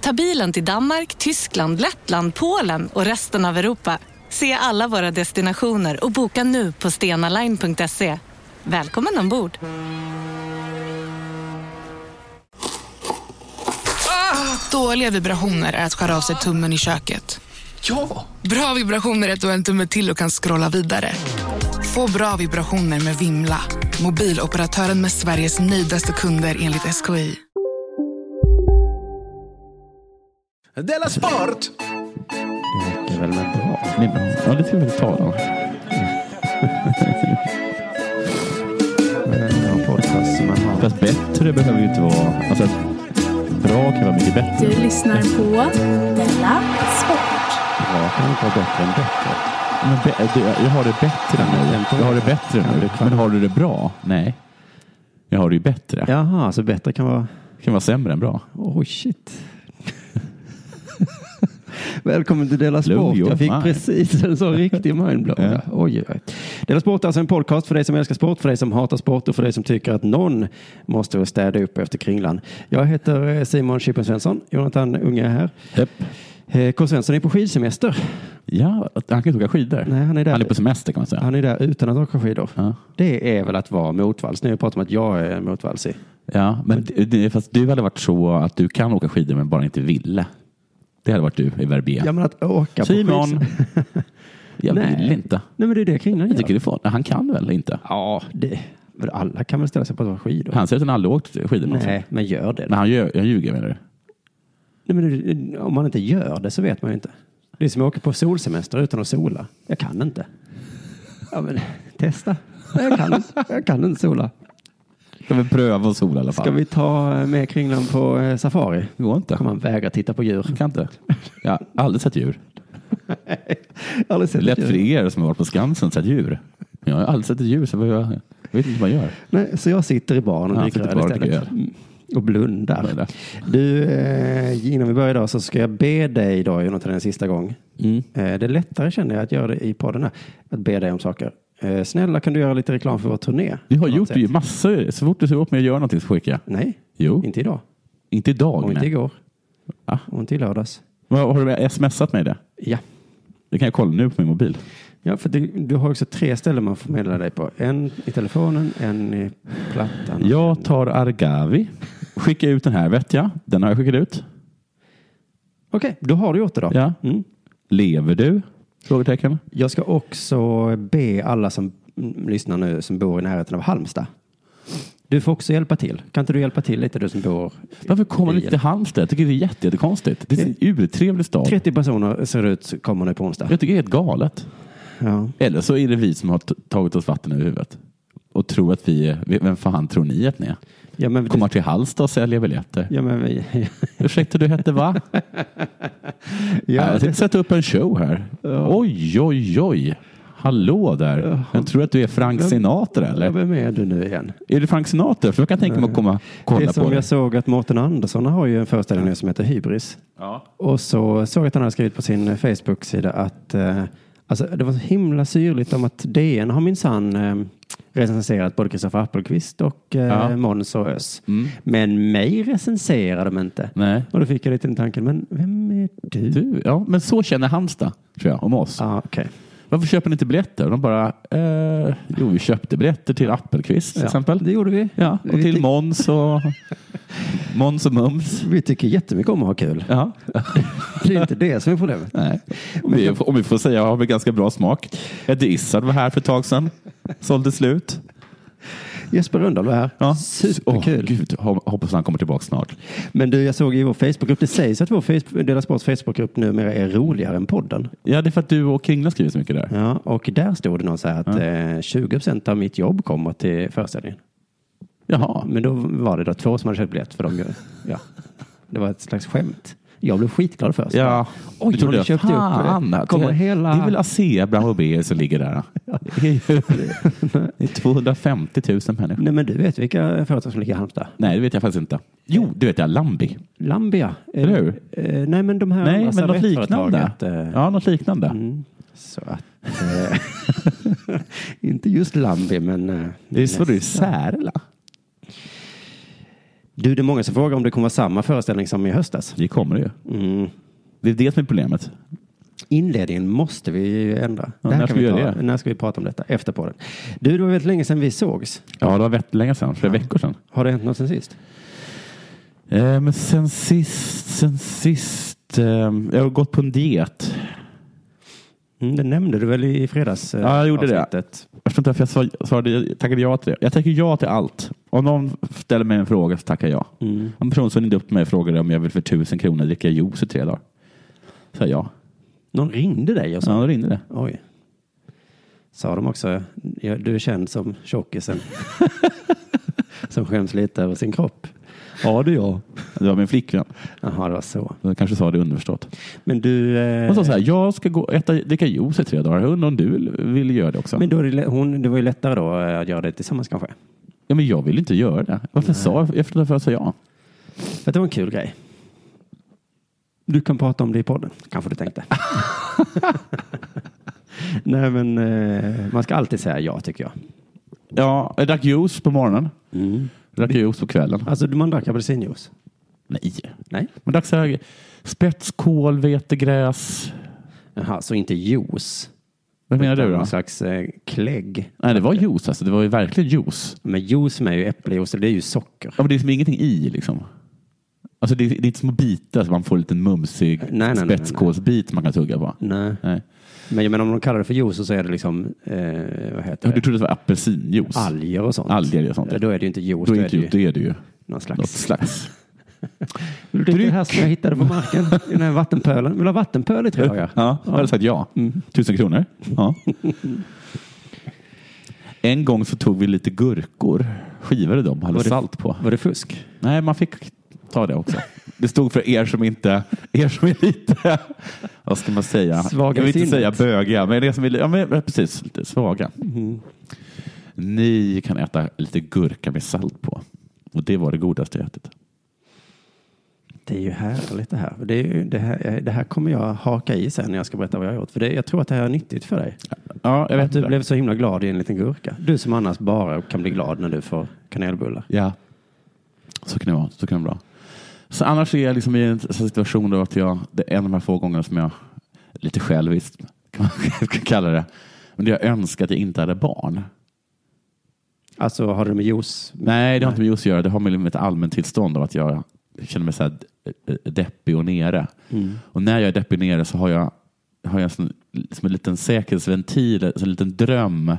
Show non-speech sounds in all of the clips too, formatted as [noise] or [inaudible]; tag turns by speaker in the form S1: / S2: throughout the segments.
S1: Ta bilen till Danmark, Tyskland, Lettland, Polen och resten av Europa. Se alla våra destinationer och boka nu på stenaline.se. Välkommen ombord!
S2: Ah! Dåliga vibrationer är att skära av sig tummen i köket.
S3: Ja!
S2: Bra vibrationer är att du har en tumme till och kan scrolla vidare. Få bra vibrationer med Vimla. Mobiloperatören med Sveriges nöjdaste kunder enligt SKI.
S3: Della Sport!
S4: Det är väl bra. Ja, det får vi väl ta då. Fast bättre behöver ju inte vara... Alltså, bra kan vara mycket bättre.
S5: Du lyssnar på Della Sport.
S4: Bra kan inte vara bättre än bättre. Men be- du, jag jag har det bättre nu. Jag har det bättre nu. Men har du det bra? Nej. Jag har det ju bättre.
S6: Jaha, så bättre kan vara...
S4: Det kan vara sämre än bra.
S6: Oh shit. Välkommen till Della
S4: Blow
S6: Sport.
S4: your
S6: Jag fick
S4: mind.
S6: precis en sån riktig mindblow.
S4: Ja.
S6: Oj, oj. Della Sport är alltså en podcast för dig som älskar sport, för dig som hatar sport och för dig som tycker att någon måste städa upp efter kringlan. Jag heter eh, Simon Chippen Svensson. Jonathan Unge är här.
S4: Japp.
S6: Eh, K. Svensson är på skidsemester.
S4: Ja, han kan inte åka skidor.
S6: Nej, han är där.
S4: Han är på semester kan man säga.
S6: Han är där utan att åka skidor.
S4: Ja.
S6: Det är väl att vara motvalls. Nu har jag pratat om att jag är motvalsig.
S4: Ja, men det- det- fast du hade varit så att du kan åka skidor men bara inte ville. Det hade varit du i Verbier.
S6: Ja, men att åka på
S4: Simon!
S6: skidsemester.
S4: [laughs] Jag
S6: Nej.
S4: vill inte.
S6: Nej, men det är det kringlan
S4: Jag
S6: gör.
S4: tycker det är farligt. Han kan väl inte?
S6: Ja, det, men alla kan väl ställa sig på ett par skidor?
S4: Han säger att han aldrig åkt skidor någonsin.
S6: Nej, men gör det.
S4: Men han ljög, jag ljuger menar du?
S6: Nej, men om man inte gör det så vet man ju inte. Det är som att åka på solsemester utan att sola. Jag kan inte. Ja, men testa. Nej, jag kan inte. Jag kan inte sola.
S4: Ska vi pröva att sola i alla fall?
S6: Ska vi ta eh, med kringlan på eh, safari?
S4: Det går inte.
S6: Kommer man vägra titta på djur?
S4: Kan inte. Jag har aldrig sett djur.
S6: Aldrig
S4: Det är
S6: sett
S4: lätt
S6: djur.
S4: för er som har varit på Skansen och sett djur. Men Jag har aldrig sett ett djur så jag, jag vet inte vad man gör.
S6: Nej, så jag sitter i baren och
S4: Ja,
S6: dricker
S4: sitter i
S6: öl
S4: baren och
S6: istället.
S4: dricker öl.
S6: Mm, Och blundar.
S4: Blundar.
S6: Du, eh, innan vi börjar idag så ska jag be dig idag, Jonathan, en sista gång.
S4: Mm.
S6: Eh, det är lättare känner jag att göra det i podden här, att be dig om saker. Eh, snälla kan du göra lite reklam för vår turné?
S4: Vi har
S6: På något
S4: gjort
S6: sätt.
S4: ju massor. Så fort du ser upp mig och gör någonting så skickar jag.
S6: Nej,
S4: Jo,
S6: inte idag.
S4: inte idag.
S6: Och inte
S4: nej. Ah.
S6: igår.
S4: Va?
S6: Och inte i lördags.
S4: Vad- Har du smsat mig det?
S6: Ja.
S4: Det kan jag kolla nu på min mobil.
S6: Ja, för det, du har också tre ställen man får meddela dig på. En i telefonen, en i plattan. och en-
S4: Jag tar Argavi. Skickar ut den här vet jag. Den har jag skickat ut.
S6: Okej, då har du gjort det då.
S4: Ja.
S6: Mm.
S4: Lever du? Frågetecken.
S6: Jag ska också be alla som mm, lyssnar nu som bor i närheten av Halmstad. Du får också hjälpa till. Kan inte du hjälpa till lite du som bor?
S4: Varför kommer
S6: i-
S4: ni inte till Halmstad? Jag tycker det är jätte- jättekonstigt. Det är en urtrevlig stad.
S6: 30 personer ser det ut så kommer nu på onsdag.
S4: Jag tycker det är helt galet.
S6: Ja.
S4: Eller så är det vi som har t- tagit oss vatten över huvudet och tror att vi är... Vem fan tror ni att ni är?
S6: Ja, men,
S4: Kommer till Halmstad och säljer biljetter.
S6: ja, men vi... [laughs]
S4: Ursäkta, du hette va? Nej,
S6: ja,
S4: jag tänkte sätta upp en show här. Oj, oj, oj. Hallå där. Jag tror att du är Frank Sinatra
S6: ja,
S4: eller?
S6: vem är du nu igen?
S4: Är du Frank Sinatra? För jag kan tänka mig att komma
S6: Det
S4: kolla
S6: är
S4: på
S6: som
S4: dig.
S6: jag såg att Mårten Andersson har ju en föreställning nu som heter Hybris.
S4: Ja.
S6: Och så såg jag att han hade skrivit på sin eh, Facebook-sida att eh, alltså, det var så himla syrligt om att DN har minsann eh, recenserat både Kristoffer Appelqvist och eh,
S4: Ja. Mm.
S6: Måns och Ös. Men mig recenserar de inte.
S4: Nej.
S6: Och då fick jag lite den tanken, men vem är du?
S4: Du, ja, men så känner Halmstad, tror jag, om oss.
S6: Ja, okej.
S4: Varför köper ni inte biljetter? De bara, eh, jo, vi köpte biljetter till Appelqvist till
S6: Ja,
S4: exempel.
S6: Det gjorde vi.
S4: Ja, och
S6: vi,
S4: till
S6: tyck-
S4: Måns
S6: [laughs]
S4: och Måns och Mums.
S6: vi tycker jättemycket om att ha kul. [laughs]
S4: Ja.
S6: Det är inte det som är problemet.
S4: Nej. Om, vi, om vi får säga har vi ganska bra smak. Eddie Izzard var här för ett tag sedan. Sålde slut.
S6: Jesper Rönndahl var här.
S4: Ja.
S6: Superkul.
S4: Åh, Gud, hop- hoppas han kommer tillbaka snart.
S6: Men du, jag såg i vår Facebookgrupp, det sägs att vår Facebook, Dela Sports Facebookgrupp numera är roligare än podden.
S4: Ja, det är för att du och Kringla skriver så mycket där.
S6: Ja, och där stod det någon så här att eh, 20 procent av mitt jobb kommer till föreställningen.
S4: Jaha.
S6: Men då var det då två som hade köpt biljett för dem. ju- Ja, det var ett slags skämt. Jag blev skitglad först.
S4: Ja,
S6: Oj,
S4: du trodde
S6: har du köpt upp det?
S4: fan, det?
S6: Kommer hela-
S4: det är väl ASEA Brown som ligger där. Det är, ju, det är 250 000 människor.
S6: Nej, men du vet vilka företag som ligger i Halmstad?
S4: Nej, det vet jag faktiskt inte. Jo, det vet jag. Lambi.
S6: Lambia.
S4: Eller hur?
S6: Eh, nej, men de här
S4: Nej,
S6: andra
S4: men något liknande.
S6: servettföretaget, eh,
S4: Ja, något liknande.
S6: Mm, Så att, eh, [laughs] inte just Lambi, men... eh,
S4: Det är så
S6: nästan.
S4: du Särla.
S6: Du, det är många som frågar om det kommer vara samma föreställning som i höstas.
S4: Det kommer det ju.
S6: Mm.
S4: Det är det som är problemet.
S6: Inledningen måste vi ju ändra.
S4: Ja,
S6: Det här
S4: när ska
S6: vi
S4: vi
S6: ta,
S4: göra det?
S6: När ska vi prata om detta? Efter podden. Du, det var väldigt länge sedan vi sågs.
S4: Ja, det var väldigt länge sedan. Flera veckor sedan.
S6: Har det hänt något sen sist?
S4: Eh, men sen sist, sen sist. Eh, jag har gått på en diet.
S6: Mm, det nämnde du väl i fredags? eh,
S4: Ja, jag gjorde det.
S6: avsnittet.
S4: Jag förstår inte varför jag sa- svarade, jag tackade ja till det. Jag tackar ja till allt. Om någon ställer mig en fråga så tackar jag.
S6: Mm.
S4: En person som ringde upp mig och frågade om jag vill för tusen kronor dricka juice i tre dagar. Så jag
S6: Någon ringde dig och
S4: ja.
S6: sa
S4: Ja, då ringde det.
S6: Oj. Sa de också, "Ja, du är känd som
S4: [laughs]
S6: tjockisen. som skäms lite över sin kropp. Ja, det är jag.
S4: Det var min flickvän.
S6: Jaha, det var så.
S4: Jag kanske sa det underförstått.
S6: Men du... eh,
S4: Hon sa så här, jag ska gå och äta, dricka juice i tre dagar. Jag undrar om du vill, vill göra det också?
S6: men då är det, lä- hon, det var ju lättare då eh, att göra det tillsammans kanske.
S4: ja, men jag vill inte göra det. Varför sa jag? Jag förstår varför jag sa ja.
S6: För att det var en kul grej. Du kan prata om det i podden, kanske du tänkte. [laughs] Nej, men eh, man ska alltid säga ja, tycker jag.
S4: Ja, jag drack juice på morgonen.
S6: Mm.
S4: Jag drack juice på kvällen.
S6: Alltså, man drack apelsinjuice.
S4: Nej.
S6: Nej.
S4: Man drack så här spetskål, vetegräs.
S6: Jaha, så inte juice.
S4: Vad menar du
S6: Utan
S4: då?
S6: Någon slags eh, klägg.
S4: Nej, det var juice alltså. Det var ju verkligen juice.
S6: Men juice med är ju äppeljuice, det är ju socker.
S4: Ja, men det är liksom ingenting i liksom. Alltså det, är- det är inte små bitar så man får en liten mumsig
S6: Nej, nej, nej, nej, nej.
S4: spetskålsbit man kan tugga på.
S6: Nej.
S4: Nej.
S6: Men jag menar om de kallar det för juice så är det liksom, eh, vad heter
S4: Du
S6: det?
S4: trodde det var apelsinjuice?
S6: Alger och sånt.
S4: Alger och sånt, ja.
S6: Då är det ju inte juice,
S4: Då
S6: då
S4: är
S6: är
S4: inte
S6: det ju
S4: juice, det är det ju.
S6: någon
S4: Något
S6: slags.
S4: [laughs] slags.
S6: Vill du dricka det här som jag hittade på marken? I den här vattenpölen. Vill du ha vattenpöl i tre dagar?
S4: Ja, Mm. jag hade sagt ja. Tusen kronor. [laughs] Ja. En gång så tog vi lite gurkor, skivade dem och hade
S6: Var det-
S4: salt på.
S6: Var det fusk?
S4: Nej, man fick ta det också. Det stod för er som inte, er som är lite, vad ska man säga?
S6: Svaga
S4: jag vill inte säga
S6: sinnet.
S4: böga, men er som är, li- ja, men precis, lite svaga.
S6: Mm.
S4: Ni kan äta lite gurka med salt på. Och det var det godaste jag ätit.
S6: Det är ju härligt det här. Det, är ju, det här. det här kommer jag haka i sen när jag ska berätta vad jag har gjort. För det, jag tror att det här är nyttigt för dig.
S4: Ja, jag
S6: Att
S4: vet
S6: du
S4: inte.
S6: blev så himla glad i en liten gurka. Du som annars bara kan bli glad när du får kanelbullar.
S4: Ja, så kan det vara. Så kan det vara. Så annars är jag liksom i en sån situation då att jag, det är en av de här få gångerna som jag, lite själviskt kan man [laughs] kalla det, men jag önskar att jag inte hade barn.
S6: Alltså har du med juice?
S4: Nej, det har inte med juice att göra. Det har med mitt allmäntillstånd av att jag känner mig så här eh, deppig och nere.
S6: Mm.
S4: Och när jag är deppig och nere så har jag, har jag som, som en liten säkerhetsventil, som en liten dröm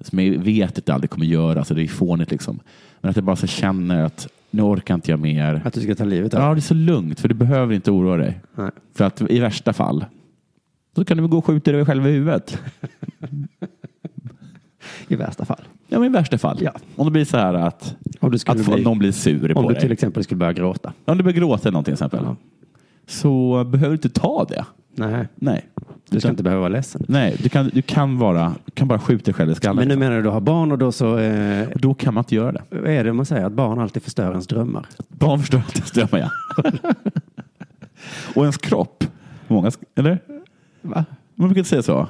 S4: som jag vet att det aldrig kommer göra, så det är fånigt liksom. Men att jag bara så känner att nu orkar inte jag mer.
S6: Att du ska ta livet av
S4: Ja, det är så lugnt för du behöver inte oroa dig.
S6: Nej.
S4: För att i värsta fall så kan du väl gå och skjuta dig själv i huvudet.
S6: I värsta fall.
S4: Ja, men i värsta fall.
S6: Ja.
S4: Om det blir så här att,
S6: Om du, skulle
S4: att få-
S6: bli,
S4: någon blir sur
S6: om
S4: på
S6: du till
S4: dig.
S6: exempel skulle börja gråta.
S4: Om du börjar gråta eller någonting till exempel.
S6: Ja.
S4: Så behöver du inte ta det.
S6: Nej,
S4: Nej.
S6: du ska
S4: Utan-
S6: inte behöva vara ledsen.
S4: Nej, du kan, du kan, vara, du kan bara skjuta dig själv i
S6: Men
S4: skallen.
S6: nu menar du att du har barn och då så eh,
S4: Då kan man inte göra det.
S6: vad är det man säger att barn alltid förstör ens drömmar.
S4: Barn förstår inte ens drömmar,
S6: [laughs]
S4: ja. Och ens kropp. Många, sk- eller?
S6: Va?
S4: Man brukar säga så.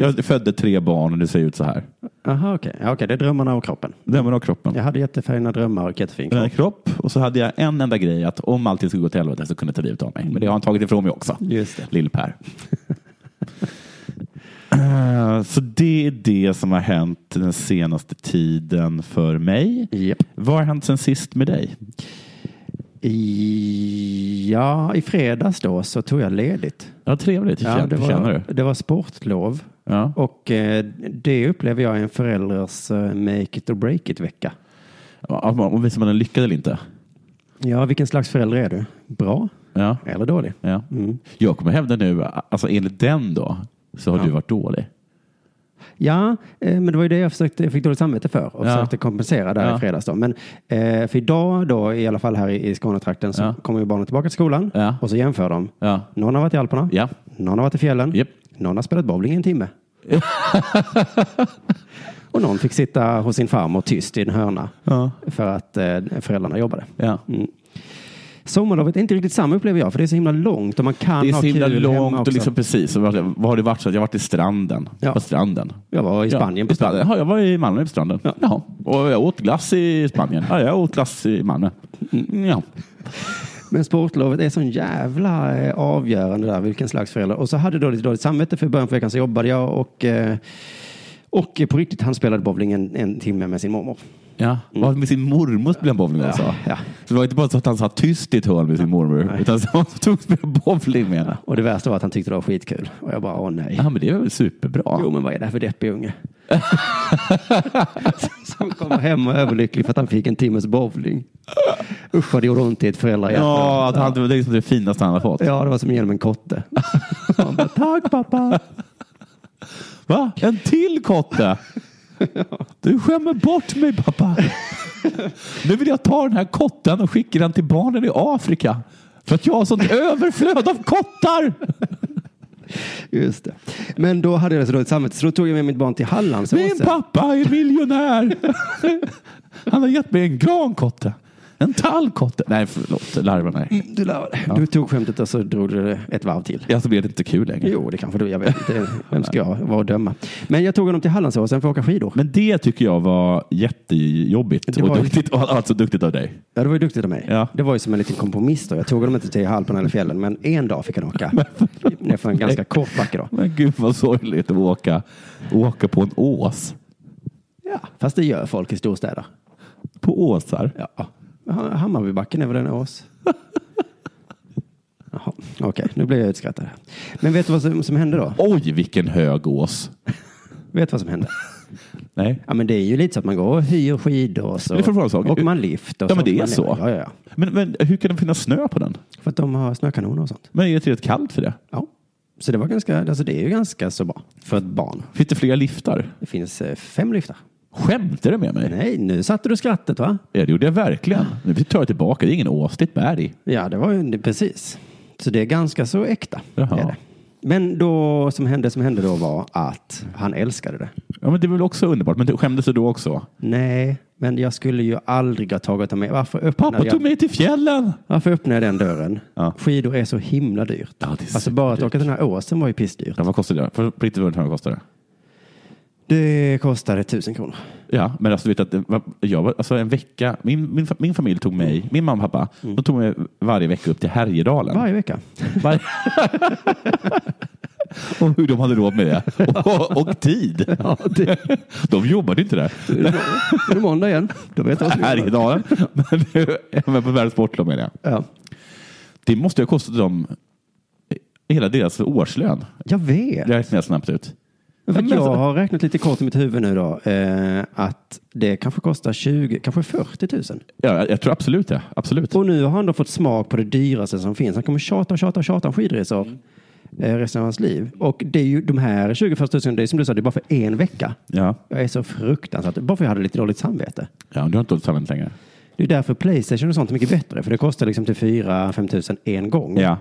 S4: Jag födde tre barn och det ser ut så här.
S6: Jaha, okej. Ja, okej, det är drömmarna och kroppen.
S4: Drömmen och kroppen.
S6: Jag hade jättefina drömmar och jättefin
S4: Den här
S6: kropp.
S4: kropp och så hade jag en enda grej att om allting skulle gå till helvete så kunde jag ta livet av mig. Men det har han tagit ifrån mig också.
S6: Just det.
S4: Lill-Per. Eh, så det är det som har hänt den senaste tiden för mig.
S6: Japp.
S4: Vad har hänt sen sist med dig?
S6: I, ja, i fredags då så tog jag ledigt.
S4: Ja, trevligt. Ja,
S6: det,
S4: Känner
S6: var,
S4: du?
S6: det var sportlov.
S4: Ja.
S6: Och eh, det upplever jag är en förälders eh, make it or break it vecka.
S4: Ja, man- Och visar man den lyckad eller inte?
S6: Ja, vilken slags förälder är du? Bra
S4: Ja.
S6: eller dålig?
S4: Mm. ja. Jag kommer hävda nu, alltså enligt den då, så har du varit dålig.
S6: Ja, eh, men det var ju det jag försökte, jag fick dåligt samvete för och
S4: Ja.
S6: försökte kompensera där
S4: Ja.
S6: i fredags. Då. Men eh, för idag då, i alla fall här i, i Skånetrakten, så
S4: Ja.
S6: kommer ju barnen tillbaka till skolan
S4: Ja.
S6: och så jämför de.
S4: Ja.
S6: Någon har varit i Alperna,
S4: Ja.
S6: någon har varit i fjällen,
S4: Japp.
S6: någon har spelat bowling i
S4: [laughs]
S6: en timme. och någon fick sitta hos sin farmor tyst i en hörna
S4: Ja.
S6: för att eh, föräldrarna jobbade.
S4: Ja.
S6: Sommarlovet är inte riktigt samma upplever jag, för det är så himla långt och man kan
S4: Det är
S6: ha
S4: så himla
S6: kul hemma
S4: långt
S6: också.
S4: och liksom precis. Och Vad vad har det varit? Så att jag har varit i stranden.
S6: Ja.
S4: På stranden.
S6: Jag var i Spanien på stranden.
S4: Ja, jag var i Malmö på stranden.
S6: Ja.
S4: Ja. Och jag åt glass i Spanien. Ja, jag åt glass i Malmö. Mm, Ja.
S6: Men sportlovet är sån jävla eh, avgörande där, vilken slags förälder. Och så hade jag då lite dåligt samvete för i början på veckan så jobbade jag och, eh, och på riktigt han spelade bowling en, en timme med sin mormor.
S4: Ja, Var med sin mormor spelade bowling alltså.
S6: ja.
S4: Så det var inte bara så att han satt tyst i ett hörn med sin mormor, utan så [laughs] han tog och spelade bowling med henne.
S6: Och det värsta var att han tyckte det var skitkul. Och jag bara, åh nej.
S4: Ja, men det är väl superbra.
S6: Jo, men vad är det här för deppig unge? [laughs] Som kommer hem och är överlycklig för att han fick en timmes bowling. Usch vad det gjorde ont i ett föräldrahjärta.
S4: ja, att han, det är liksom det finaste han har fått.
S6: ja, det var som genom en kotte. Han bara, [laughs] Tack pappa.
S4: Va? En till
S6: [laughs]
S4: kotte? Du skämmer bort mig pappa. Nu vill jag ta den här kotten och skicka den till barnen i Afrika. För att jag har sånt överflöd av kottar.
S6: Just det. Men då hade jag så dåligt samvete så då tog jag med mitt barn till Halland. Så
S4: Min pappa är miljonär. Han har gett mig en grankotte. En tallkotte. Nej, förlåt. Larva mig.
S6: Du, lär, du tog skämtet och så drog du det ett varv till.
S4: Ja, så blir Alltså, det inte kul längre.
S6: Jo, det kanske du. Jag vet inte. Vem ska jag vara och döma? Men jag tog honom till Hallandsåsen för att åka skidor.
S4: Men det tycker jag var jättejobbigt
S6: Det var
S4: och
S6: ju-
S4: duktigt, och alltså duktigt av dig.
S6: Ja, det var ju duktigt av mig.
S4: Ja.
S6: Det var ju som en liten kompromiss då. Jag tog honom inte till Alperna eller fjällen, men en dag fick han
S4: [laughs]
S6: åka. Det var en ganska kort backe då.
S4: Men gud vad sorgligt att åka, åka på en ås.
S6: Ja, fast det gör folk i storstäder.
S4: På åsar.
S6: Ja. Ha- Hammarbybacken är väl en ås? [laughs] Jaha, okej. Nu blir jag utskrattad. här. Men vet du vad som, som hände då?
S4: Oj, vilken hög ås.
S6: Vet du vad som hände?
S4: Nej.
S6: Ja, men det är ju lite så att man går och hyr skidor och så
S4: Det är för fan sak.
S6: åker man lift. Och
S4: Ja,
S6: så
S4: men det
S6: åker
S4: är
S6: man ner.
S4: så.
S6: Ja, ja, ja.
S4: Men, men hur kan det finnas snö på den?
S6: För att de har snökanoner och sånt.
S4: Men är det tillräckligt kallt för det?
S6: Ja. Så det, var ganska, alltså det är ju ganska så bra för ett barn.
S4: Finns det flera liftar?
S6: Det finns eh, fem liftar.
S4: Skämtar du med mig?
S6: Nej, nu satte du skrattet va?
S4: Ja, det gjorde jag verkligen. Nu tar jag tillbaka. Det är ingen ås, det är ett berg.
S6: Ja, det var ju det, precis. Så det är ganska så äkta.
S4: Jaha.
S6: Är det. Men då, som hände, som hände då var att han älskade det.
S4: Ja, men det är väl också underbart. Men du skämdes du då också?
S6: Nej, men jag skulle ju aldrig ha tagit honom med. Varför öppnade,
S4: Pappa tog
S6: jag,
S4: mig till fjällen!
S6: varför öppnade jag den dörren?
S4: Ja.
S6: Skidor är så himla dyrt.
S4: Ja, det är
S6: alltså bara att
S4: superdyrt.
S6: åka till den här åsen var ju pissdyrt.
S4: Ja, vad kostade det? För- På riktigt, vad kostade det?
S6: Det kostade tusen kronor.
S4: Ja, men alltså, du vet att det var- jag var, alltså en vecka, min, min, fa- min familj tog mig, min mamma och pappa, de tog mig varje vecka upp till Härjedalen.
S6: Mm. Varje vecka. [laughs]
S4: Var... och hur de hade råd med det. Och, och tid.
S6: Ja, det,
S4: De jobbade inte där.
S6: är det måndag
S4: [laughs]
S6: igen? Då vet jag vad som händer.
S4: Härjedalen. Men, men på Världens sportlov menar jag.
S6: Ja.
S4: Det måste ju ha kostat dem hela deras årslön.
S6: Jag vet.
S4: Räknar jag snabbt ut.
S6: För
S4: Men
S6: jag
S4: alltså-
S6: har räknat lite kort i mitt huvud nu då. Eh, att det kanske kostar 20, kanske 40 000.
S4: Ja, jag- jag tror absolut det. Absolut.
S6: Och nu har han då fått smak på det dyraste som finns. Han kommer tjata och tjata och tjata om skidresor
S4: Mm.
S6: eh, resten av hans liv. Och det är ju de här 20 000, det är som du sa, det är bara för en vecka.
S4: Ja,
S6: Jag är så fruktansvärt, bara för jag hade lite dåligt samvete.
S4: ja du har inte dåligt samvete längre.
S6: Det är därför Playstation och sånt är mycket bättre, för det kostar liksom till 4-5 tusen en gång.
S4: Ja.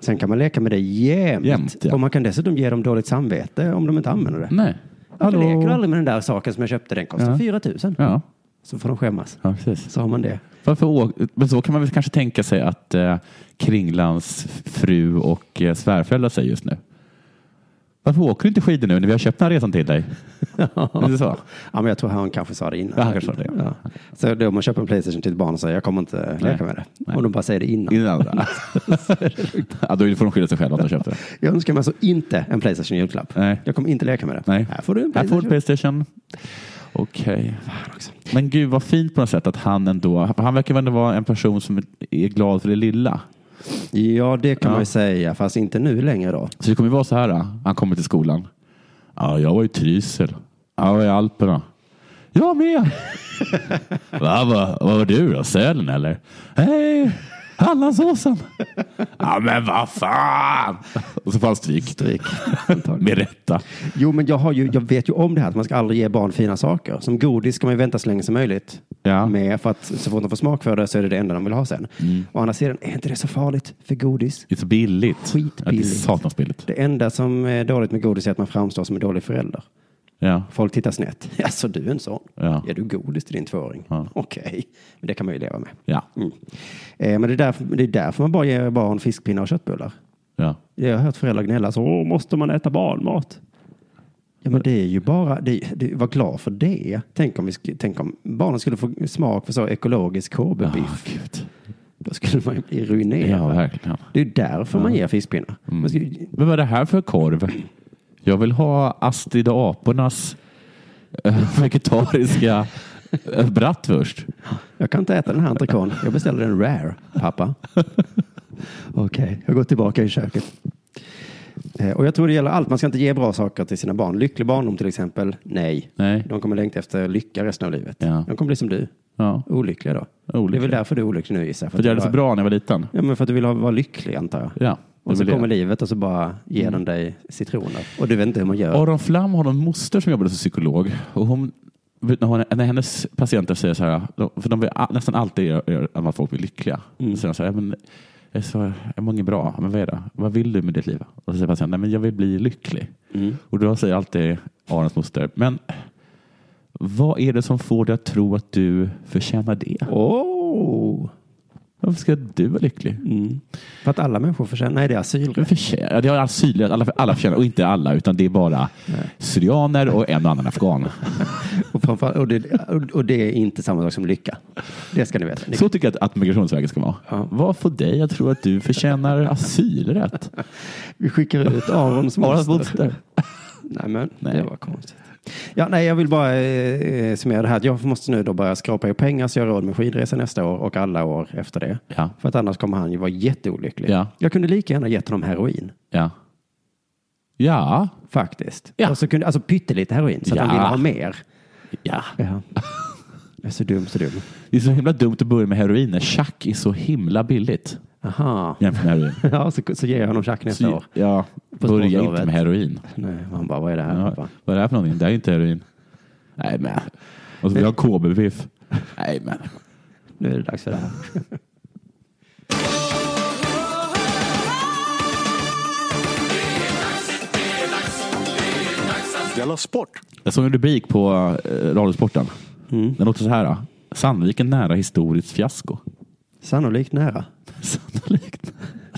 S6: Sen kan man leka med det jämt.
S4: Jämt, ja.
S6: Och man kan dessutom ge dem dåligt samvete om de inte använder det.
S4: Nej.
S6: Varför leker du aldrig med den där saken som jag köpte? Den kostar
S4: Ja.
S6: 4 000.
S4: Ja.
S6: Så får de skämmas.
S4: ja, precis.
S6: Så har man det.
S4: Varför å- men så kan man väl kanske tänka sig att eh, Kringlands fru och eh, svärföräldrar säger just nu. Varför åker du inte skidor nu när vi har köpt den här resan till dig? Är det så?
S6: Ja, men jag tror han kanske sa det innan.
S4: Ja, han kanske sa det, ja.
S6: Ja. Så då om man köper en Playstation till ett barn och säger jag kommer inte leka med det.
S4: Nej.
S6: Om de bara säger det innan.
S4: Innan
S6: [laughs]
S4: andra. ja, då får de skylla sig själva att de köpte det.
S6: Jag önskar mig alltså inte en Playstation i julklapp.
S4: Nej.
S6: Jag kommer inte leka med det.
S4: Nej.
S6: Här får du en
S4: Här får du
S6: Playstation.
S4: Playstation. Okej. Men gud vad fint på något sätt att han ändå, han verkar väl ändå vara en person som är glad för det lilla.
S6: Ja, det kan
S4: Ja.
S6: man ju säga, fast inte nu längre då.
S4: Så det kommer ju vara så här. då. Han kommer till skolan. Ja, jag var i Trysil. Ja, Jag var i Alperna. [laughs] Jag med. va, va, vad var du då? Sälen eller? Nej, Hallandsåsen. ja men vad fan. Och så får han stryk.
S6: Stryk.
S4: Med rätta.
S6: Jo, men jag, har ju, jag vet ju om det här att man ska aldrig ge barn fina saker. Som godis ska man ju vänta så länge som möjligt
S4: Ja. Mm.
S6: med. För att så fort de får smak för det så är det det enda de vill ha sen. Å andra sidan, är inte det så farligt för godis?
S4: Det är så billigt.
S6: Skitbilligt.
S4: Ja, det är satans billigt.
S6: Det enda som är dåligt med godis är att man framstår som en dålig förälder.
S4: Ja.
S6: Folk tittar snett. [laughs] Alltså du är en sån.
S4: Ja.
S6: Ger du godis till din tvååring?
S4: Ja.
S6: [laughs] Okej, men det kan man ju leva med.
S4: Ja.
S6: Mm. Eh, men det är, därför, det är därför man bara ger barn fiskpinnar och köttbullar.
S4: ja.
S6: Jag har hört föräldrar gnälla så, Åh, måste man äta barnmat? Ja, men det är ju bara, det, det, var glad för det. Tänk om, vi sk- tänk om barnen skulle få smak för så ekologisk KB-biff.
S4: gud.
S6: Då skulle man ju bli ruinerad.
S4: Ja, verkligen. Mm.
S6: det är ju därför man ger fiskpinnar. Man ska ju-
S4: Men vad är det här för korv? Jag vill ha Astrid och apornas eh, [laughs] vegetariska eh, bratwurst.
S6: Jag kan inte äta den här entrecôten. Jag beställer en rare,
S4: [laughs]
S6: pappa. Okej, jag går tillbaka i köket. Eh, Och jag tror det gäller allt. Man ska inte ge bra saker till sina barn. Lycklig barndom till exempel, nej.
S4: Nej.
S6: De kommer längta efter lycka resten av livet.
S4: Ja.
S6: De kommer bli som du,
S4: Ja.
S6: olyckliga då.
S4: Olyckliga.
S6: Det är väl därför du är olycklig nu gissar jag.
S4: För att jag är så
S6: du
S4: bra när jag var liten.
S6: Ja, men för att du vill ha, vara lycklig antar jag.
S4: Ja.
S6: Och så
S4: det Mm. är
S6: kommer
S4: väl det.
S6: livet och så bara ger den dig citroner. Och du vet inte hur man gör.
S4: Aron Flam har en moster som jobbade som psykolog. Och hon, vet, när, hon, när hennes patienter säger så här, de- för de vill a- nästan alltid göra- göra att folk blir lyckliga. Så
S6: Mm.
S4: säger de så här, "Ja, men, jag är, så, jag mår inget bra, men vad är det? Vad vill du med ditt liv? Och så säger patienten, nej men jag vill bli lycklig.
S6: Mm.
S4: Och då säger alltid Arons moster, men vad är det som får dig att tro att du förtjänar det?
S6: Åh! Mm.
S4: Varför ska du vara lycklig?
S6: För att alla människor förtjänar... Nej, det är
S4: Du
S6: asylrätt.
S4: förtjänar, det har assyrier, alla, alla förtjänar, och inte alla, utan det är bara syrianer och en och annan afghan.
S6: Och, framförallt, och, det, och det är inte samma sak som lycka. Det ska ni veta. Ni,
S4: Så tycker jag att, att Migrationsverket ska vara. Vad får dig att tro att du förtjänar [laughs] asylrätt?
S6: vi skickar ut
S4: Arons
S6: Arons moster.
S4: moster.
S6: Nej, men
S4: Nej.
S6: det var konstigt. Ja, nej, jag vill bara eh, eh, summera det här. Jag måste nu då börja skrapa ihop pengar så jag har råd med skidresa nästa år och alla år efter det.
S4: Ja.
S6: För att annars kommer han ju vara jätteolycklig.
S4: Ja.
S6: Jag kunde lika gärna gett honom heroin.
S4: Ja. Ja.
S6: Faktiskt.
S4: Ja.
S6: Och så kunde, alltså pyttelite heroin så att
S4: Ja.
S6: han ville ha mer.
S4: ja.
S6: Ja. Jag är så dum, så dum.
S4: Det är så himla dumt att börja med heroin när tjack är så himla billigt
S6: Aha.
S4: jämfört med [laughs] heroin.
S6: Ja, så, så ger jag honom tjack nästa
S4: Så,
S6: år.
S4: ja, börja
S6: sportlovet.
S4: inte med heroin.
S6: Nej, och han bara, vad är det här
S4: Ja.
S6: pappa?
S4: Vad är det här för någonting? Det här är inte heroin. Nej, men. Och så vill jag ha KB-biff. Nej, men.
S6: Nu är det dags för det här.
S3: Della Sport!
S4: Jag såg en rubrik på eh, Radiosporten.
S6: Mm.
S4: Den låter så här. Då. Sandviken nära historiskt fiasko. [laughs]
S6: Sannolikt nära.
S4: Sannolikt. [laughs]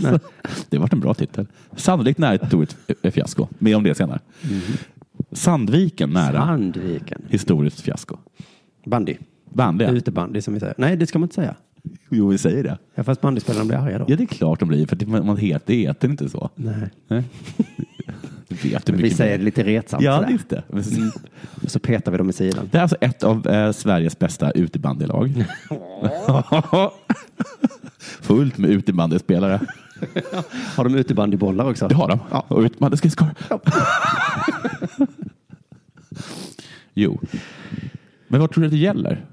S4: Det var en bra titel. Sannolikt nära ett stort fiasko. Mer om det senare.
S6: Mm.
S4: Sandviken nära
S6: Sandviken.
S4: historiskt fiasko.
S6: Bandy.
S4: Bandy.
S6: Utebandy som vi säger. Nej, det ska man inte säga.
S4: Jo, vi säger det.
S6: Ja, fast bandyspelarna blir arga då.
S4: Ja, det är klart de blir. För det, man heter, det heter inte så.
S6: Nej.
S4: Nej. Du vet hur mycket
S6: Vi säger det lite retsamt
S4: Ja,
S6: sådär.
S4: visst det. Men-
S6: Och så petar vi dem i sidan.
S4: Det är alltså ett av eh, Sveriges bästa utebandylag.
S6: [laughs]
S4: [laughs] Fullt med utebandyspelare.
S6: Har de utebandybollar också?
S4: Det har de. Och ut, man, det ska skor. [laughs] jo. Men vad tror du att det gäller?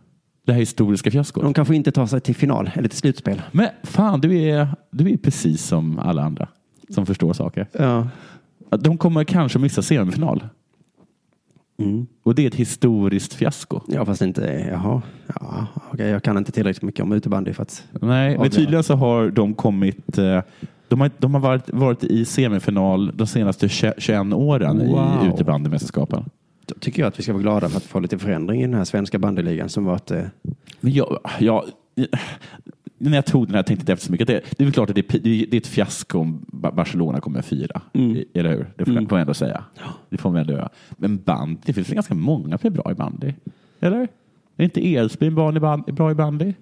S4: Det här historiska fiaskot?
S6: De kanske inte tar sig till final eller till slutspel.
S4: Men fan, du är, du är precis som alla andra som förstår saker.
S6: Ja.
S4: Att De kommer kanske missa semifinal. Och det är ett historiskt fiasko.
S6: Ja, fast inte... Jaha. Ja, okej, jag kan inte tillräckligt mycket om utebandy för att...
S4: Nej, men
S6: Avgörande.
S4: tydligen så har de kommit... eh, De har, de har varit, varit i semifinal de senaste 20 21 åren
S6: Wow.
S4: i utebandymästerskapen.
S6: Då tycker jag att vi ska vara glada för att få lite förändring i den här svenska bandyligan som var att... eh,
S4: Men jag, jag, när jag tog den här tänkte jag inte efter så mycket. Det, det är väl klart att det, är pi- det är- det är ett fiasko om Ba- Barcelona kommer fyra.
S6: Mm.
S4: I- Eller hur? Det får man ändå säga. Det får man ändå göra. Men bandy, det finns väl ganska många som är bra i bandy? Eller? Är inte Edsbyn barn i ban- är bra i bandy?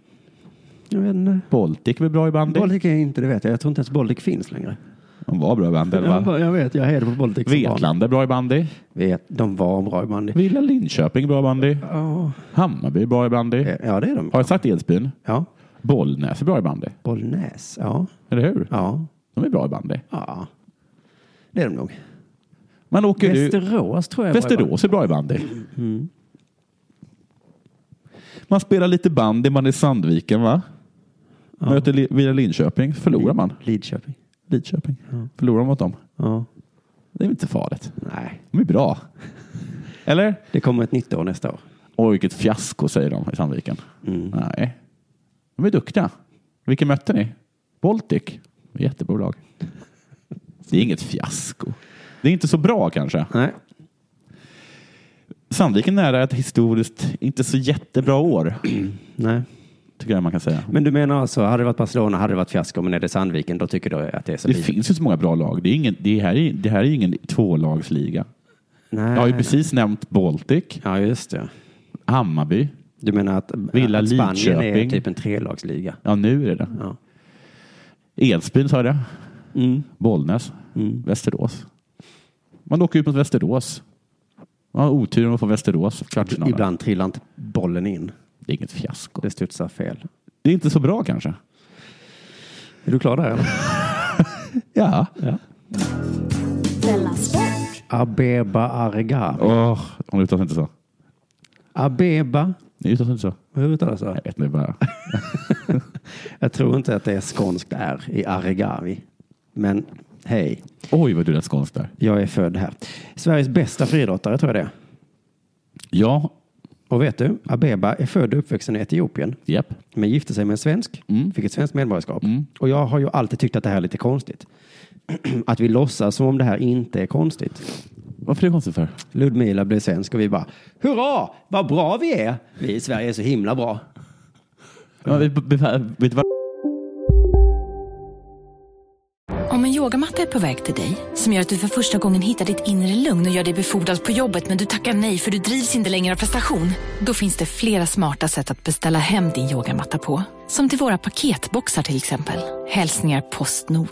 S6: Jag vet inte.
S4: Baltic är väl bra i bandy?
S6: Baltic är inte, det vet jag. Jag tror inte ens Baltic finns längre.
S4: De var bra i bandy. eller
S6: Jag,
S4: va?
S6: bara- jag vet, jag hejade på Baltic. som barn.
S4: Vetlanda är bra i bandy.
S6: Vet, de var bra i bandy.
S4: Villa Linköping är bra i bandy. Hammarby är bra i bandy.
S6: Eh, Ja, det är de.
S4: Har jag sagt Edsbyn?
S6: Ja.
S4: Bollnäs är bra i bandy.
S6: Bollnäs. Ja.
S4: Eller hur?
S6: Ja.
S4: De är bra i bandy.
S6: Ja. Det är de nog.
S4: Man åker ut-
S6: Västerås tror jag. var Mm, i
S4: Västerås är bra i bandy. Man spelar lite bandy, man är i Sandviken va?
S6: bandy.
S4: Möter li, via Linköping förlorar man.
S6: Lidköping.
S4: Lidköping. Förlorar man mot dem.
S6: Ja.
S4: Det är inte farligt.
S6: Nej,
S4: De är bra.
S6: [laughs]
S4: Eller?
S6: det kommer ett nytt år nästa år.
S4: Oj, vilket fiasko säger de i Sandviken.
S6: Mm.
S4: Nej. De är duktiga. Vilka mötte ni? Baltic. Jättebra lag. Det är inget fiasko. Det är inte så bra kanske.
S6: Nej.
S4: Sandviken är nära ett historiskt inte så jättebra år,
S6: Nej.
S4: tycker jag man kan säga.
S6: Men du menar alltså, hade det varit Barcelona hade det varit fiasko, men är det Sandviken då tycker du att det är så
S4: Det
S6: lite?
S4: finns ju så många bra lag. Det, är ingen, det, här, är, det här är ju ingen tvålagsliga.
S6: Nej.
S4: Jag har ju precis nämnt Baltic,
S6: Ja, just det.
S4: Hammarby.
S6: Du menar att,
S4: Villa
S6: att Spanien
S4: Lidköping.
S6: är typ en trelagsliga?
S4: Ja, nu är det
S6: Ja.
S4: Edsbyn sa jag det.
S6: Mm.
S4: Bollnäs, Västerås. Man åker ut mot Västerås. Man har otur om att få Västerås i kvartsfinalen.
S6: Ibland trillar inte bollen in.
S4: Det är inget fiasko.
S6: Det studsar fel.
S4: Det är inte så bra kanske.
S6: Är du klar där?
S4: Ja.
S5: Della Sport.
S6: Abeba Arga.
S4: Åh, hon uttalas inte så.
S6: Abeba.
S4: Ni uttalas inte så.
S6: Hur uttalas det?
S4: Jag vet inte
S6: [laughs]
S4: bara.
S6: Jag tror inte att det är skånskt R i Argavi. Men hej,
S4: Oj, vad du lät skånsk där.
S6: jag är född här. Sveriges bästa friidrottare tror jag det är.
S4: Ja,
S6: Och vet du, Abeba är född och uppvuxen i Etiopien.
S4: japp.
S6: Men gifte sig med en svensk, fick ett svenskt medborgarskap. Och jag har ju alltid tyckt att det här är lite konstigt. [clears throat] att vi låtsas som om det här inte är konstigt.
S4: Varför är det konstigt för?
S6: Ludmila blev svensk och vi bara, hurra, vad bra vi är! Vi i Sverige är så himla bra.
S4: Ja, vi, vi, vet du vad?
S7: Om en yogamatta är på väg till dig, som gör att du för första gången hittar ditt inre lugn och gör dig befordrad på jobbet men du tackar nej för du drivs inte längre av prestation. Då finns det flera smarta sätt att beställa hem din yogamatta på. Som till våra paketboxar till exempel. Hälsningar Postnord.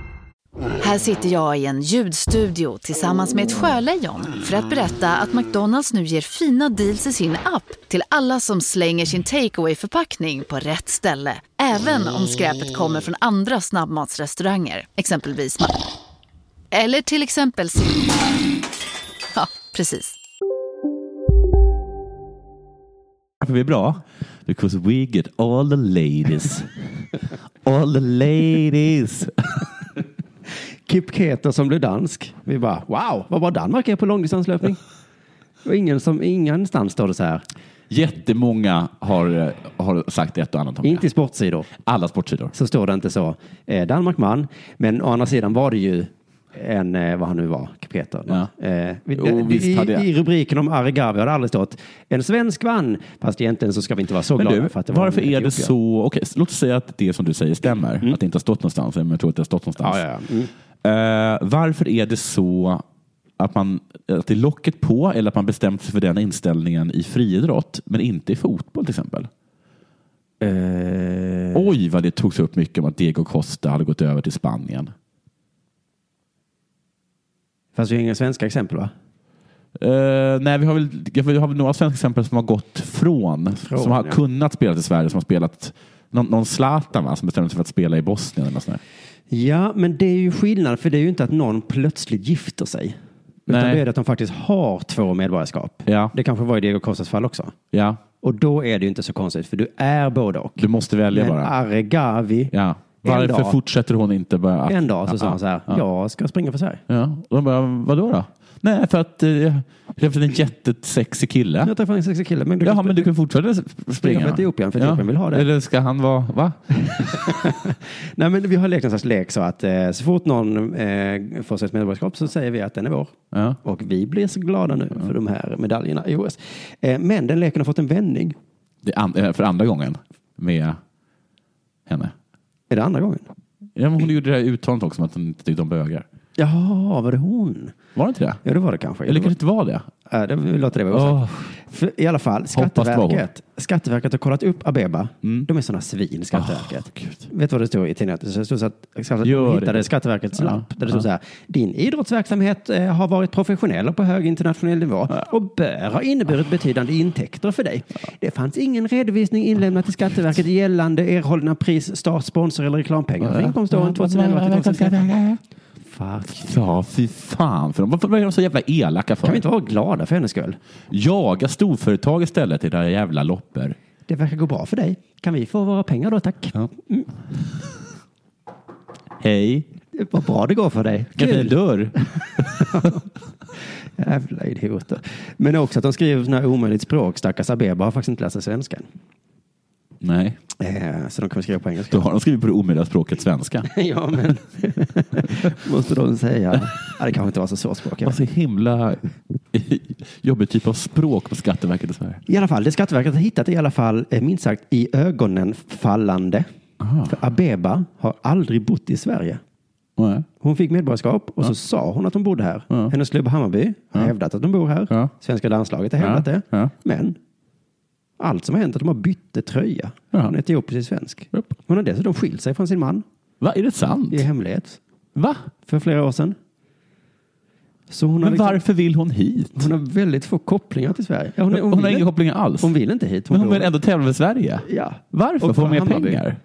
S8: Här sitter jag i en ljudstudio tillsammans med ett sjölejon för att berätta att McDonalds nu ger fina deals i sin app till alla som slänger sin takeaway förpackning på rätt ställe. Även om skräpet kommer från andra snabbmatsrestauranger, exempelvis Ma- Eller till exempel Sim- Ja, precis.
S4: Varför vi är bra? Because we get all the ladies. all the ladies.
S6: Kipketer som blev dansk. Vi bara, wow, vad bra Danmark är på långdistanslöpning. Och ingen som, ingenstans står det så här.
S4: Jättemånga har, eh, har sagt ett och annat om
S6: Inte i
S4: det.
S6: sportsidor
S4: Alla sportsidor.
S6: så står det inte så. Eh, Danmark man, men å andra sidan var det ju en, eh, vad han nu var, Peter.
S4: Ja.
S6: Eh, vi-
S4: Jo,
S6: eh,
S4: visst
S6: i,
S4: hade jag.
S6: I rubriken om Arigavi har det aldrig stått en svensk vann. Fast egentligen så ska vi inte vara så
S4: Men
S6: glada
S4: du, Mm.
S6: för att det var
S4: varför
S6: en
S4: är det
S6: etiopier.
S4: så? Okej, låt oss säga att det som du säger stämmer. Att det inte har stått någonstans. Men jag tror att det har stått någonstans.
S6: Ja, ja, ja. Mm.
S4: Eh, varför är det så att, man, att det är locket på eller att man bestämt sig för den inställningen i friidrott men inte i fotboll till exempel?
S6: Eh,
S4: Oj, vad det togs upp mycket om att Diego Costa hade gått över till Spanien.
S6: fast vi har inga svenska exempel va?
S4: Eh, nej, vi har, väl, vi har väl några svenska exempel som har gått från,
S6: Från,
S4: som har
S6: ja.
S4: kunnat spela i Sverige, som har spelat någon, någon Zlatan va, som bestämde sig för att spela i Bosnien. Eller något sånt där.
S6: Ja, men det är ju skillnad för det är ju inte att någon plötsligt gifter sig. Utan
S4: Nej.
S6: det är att de faktiskt har två medborgarskap.
S4: Ja.
S6: Det kanske var i Diego Costas fall också.
S4: Ja,
S6: Och då är det ju inte så konstigt för du är både och.
S4: du måste välja
S6: Men
S4: bara.
S6: Argavi,
S4: Ja.
S6: Ah. En
S4: Varför
S6: dag.
S4: fortsätter hon inte bara?
S6: en dag så sa
S4: Ja,
S6: han så här,
S4: ja.
S6: jag ska springa för Sverige.
S4: Ja. Och de bara, vadå då? Nej, för att eh, jag träffade en jättesexig kille.
S6: Jag träffade en sexig kille, men du
S4: Jaha,
S6: kan
S4: men du kan fortsätta sp- springa?
S6: för Etiopien, för Etiopien vill ha det.
S4: Eller ska han vara, va?
S6: Nej, men vi har lekt en sorts lek så att eh, så fort någon eh, får sitt medborgarskap så säger vi att den är vår.
S4: Ja.
S6: Och vi blir så glada nu för de här medaljerna i OS. Eh, men den leken har fått en vändning.
S4: Det är an- eh, för andra gången med henne.
S6: Är det andra gången?
S4: Ja, men hon gjorde det här uttalandet också om att hon inte tyckte om bögar.
S6: Jaha, var det hon?
S4: Var det inte det?
S6: Ja, det var det kanske.
S4: Eller kanske inte var det?
S6: Ja, det, vi låter det vara osagt. För, I alla fall,
S4: det var hon.
S6: Skatteverket, Skatteverket har kollat upp Abeba.
S4: Mm.
S6: De är sådana svin, Skatteverket. Vet du vad det stod i tidningen? Det stod så att
S4: Ah, Gör
S6: Skatteverket hittade
S4: det. Ah,
S6: Skatteverkets
S4: Ja.
S6: lapp där det stod
S4: Ja.
S6: så här. Din idrottsverksamhet eh, har varit professionell och på hög internationell nivå
S4: Ah.
S6: och bör ha inneburit betydande intäkter för dig. Det fanns ingen redovisning inlämnad till
S4: Ah.
S6: Skatteverket gällande erhållna pris, start, sponsor eller reklampengar för
S4: Ah,
S6: inkomståren 2011 till 2013. Fuck.
S4: Ja, fy fan. För dem. Varför är de så jävla elaka för?
S6: Kan vi inte vara glada för hennes skull?
S4: Jaga storföretag istället i era jävla loppor.
S6: Det verkar gå bra för dig. Kan vi få våra pengar då, tack? Mm.
S4: Hej.
S6: Vad bra det går för dig.
S4: Vilken fin dörr.
S6: Jävla idioter. Men också att de skriver sådana här omöjligt språk. Stackars Abeba har faktiskt inte läst sig svenskan.
S4: Nej,
S6: Eh, så de kommer skriva på engelska. [laughs]
S4: då har de skrivit på det omöjliga språket svenska.
S6: ja, men [laughs] måste de säga. Ja, det kanske inte var så svårt språk. jag
S4: Vad
S6: vet.
S4: så himla [laughs] jobbig typ av språk på Skatteverket i Sverige.
S6: I alla fall, det Skatteverket har hittat är i alla fall eh, minst sagt i ögonen fallande. För Abeba har aldrig bott i Sverige.
S4: Nej.
S6: Hon fick medborgarskap och så sa hon att hon bodde här. Hennes klubb Hammarby har hävdat att de bor här.
S4: Ja.
S6: Svenska landslaget har hävdat
S4: Ja.
S6: det.
S4: Ja.
S6: Men allt som har hänt är att de har bytt tröja.
S4: Ja.
S6: Hon är etiopisk svensk.
S4: Japp.
S6: Hon har dessutom skilt sig från sin man
S4: Va, är det sant?
S6: i hemlighet
S4: Va?
S6: för flera år sedan. Så hon har,
S4: Men
S6: liksom,
S4: varför vill hon hit?
S6: hon har väldigt få kopplingar till Sverige. Ja,
S4: Hon,
S6: hon
S4: har
S6: vill-
S4: inga kopplingar alls.
S6: hon vill inte hit.
S4: men hon
S6: bor-
S4: vill ändå tävla med Sverige.
S6: Ja.
S4: Varför?
S6: Och
S4: Får hon
S6: för
S4: mer
S6: Hammarby.
S4: pengar?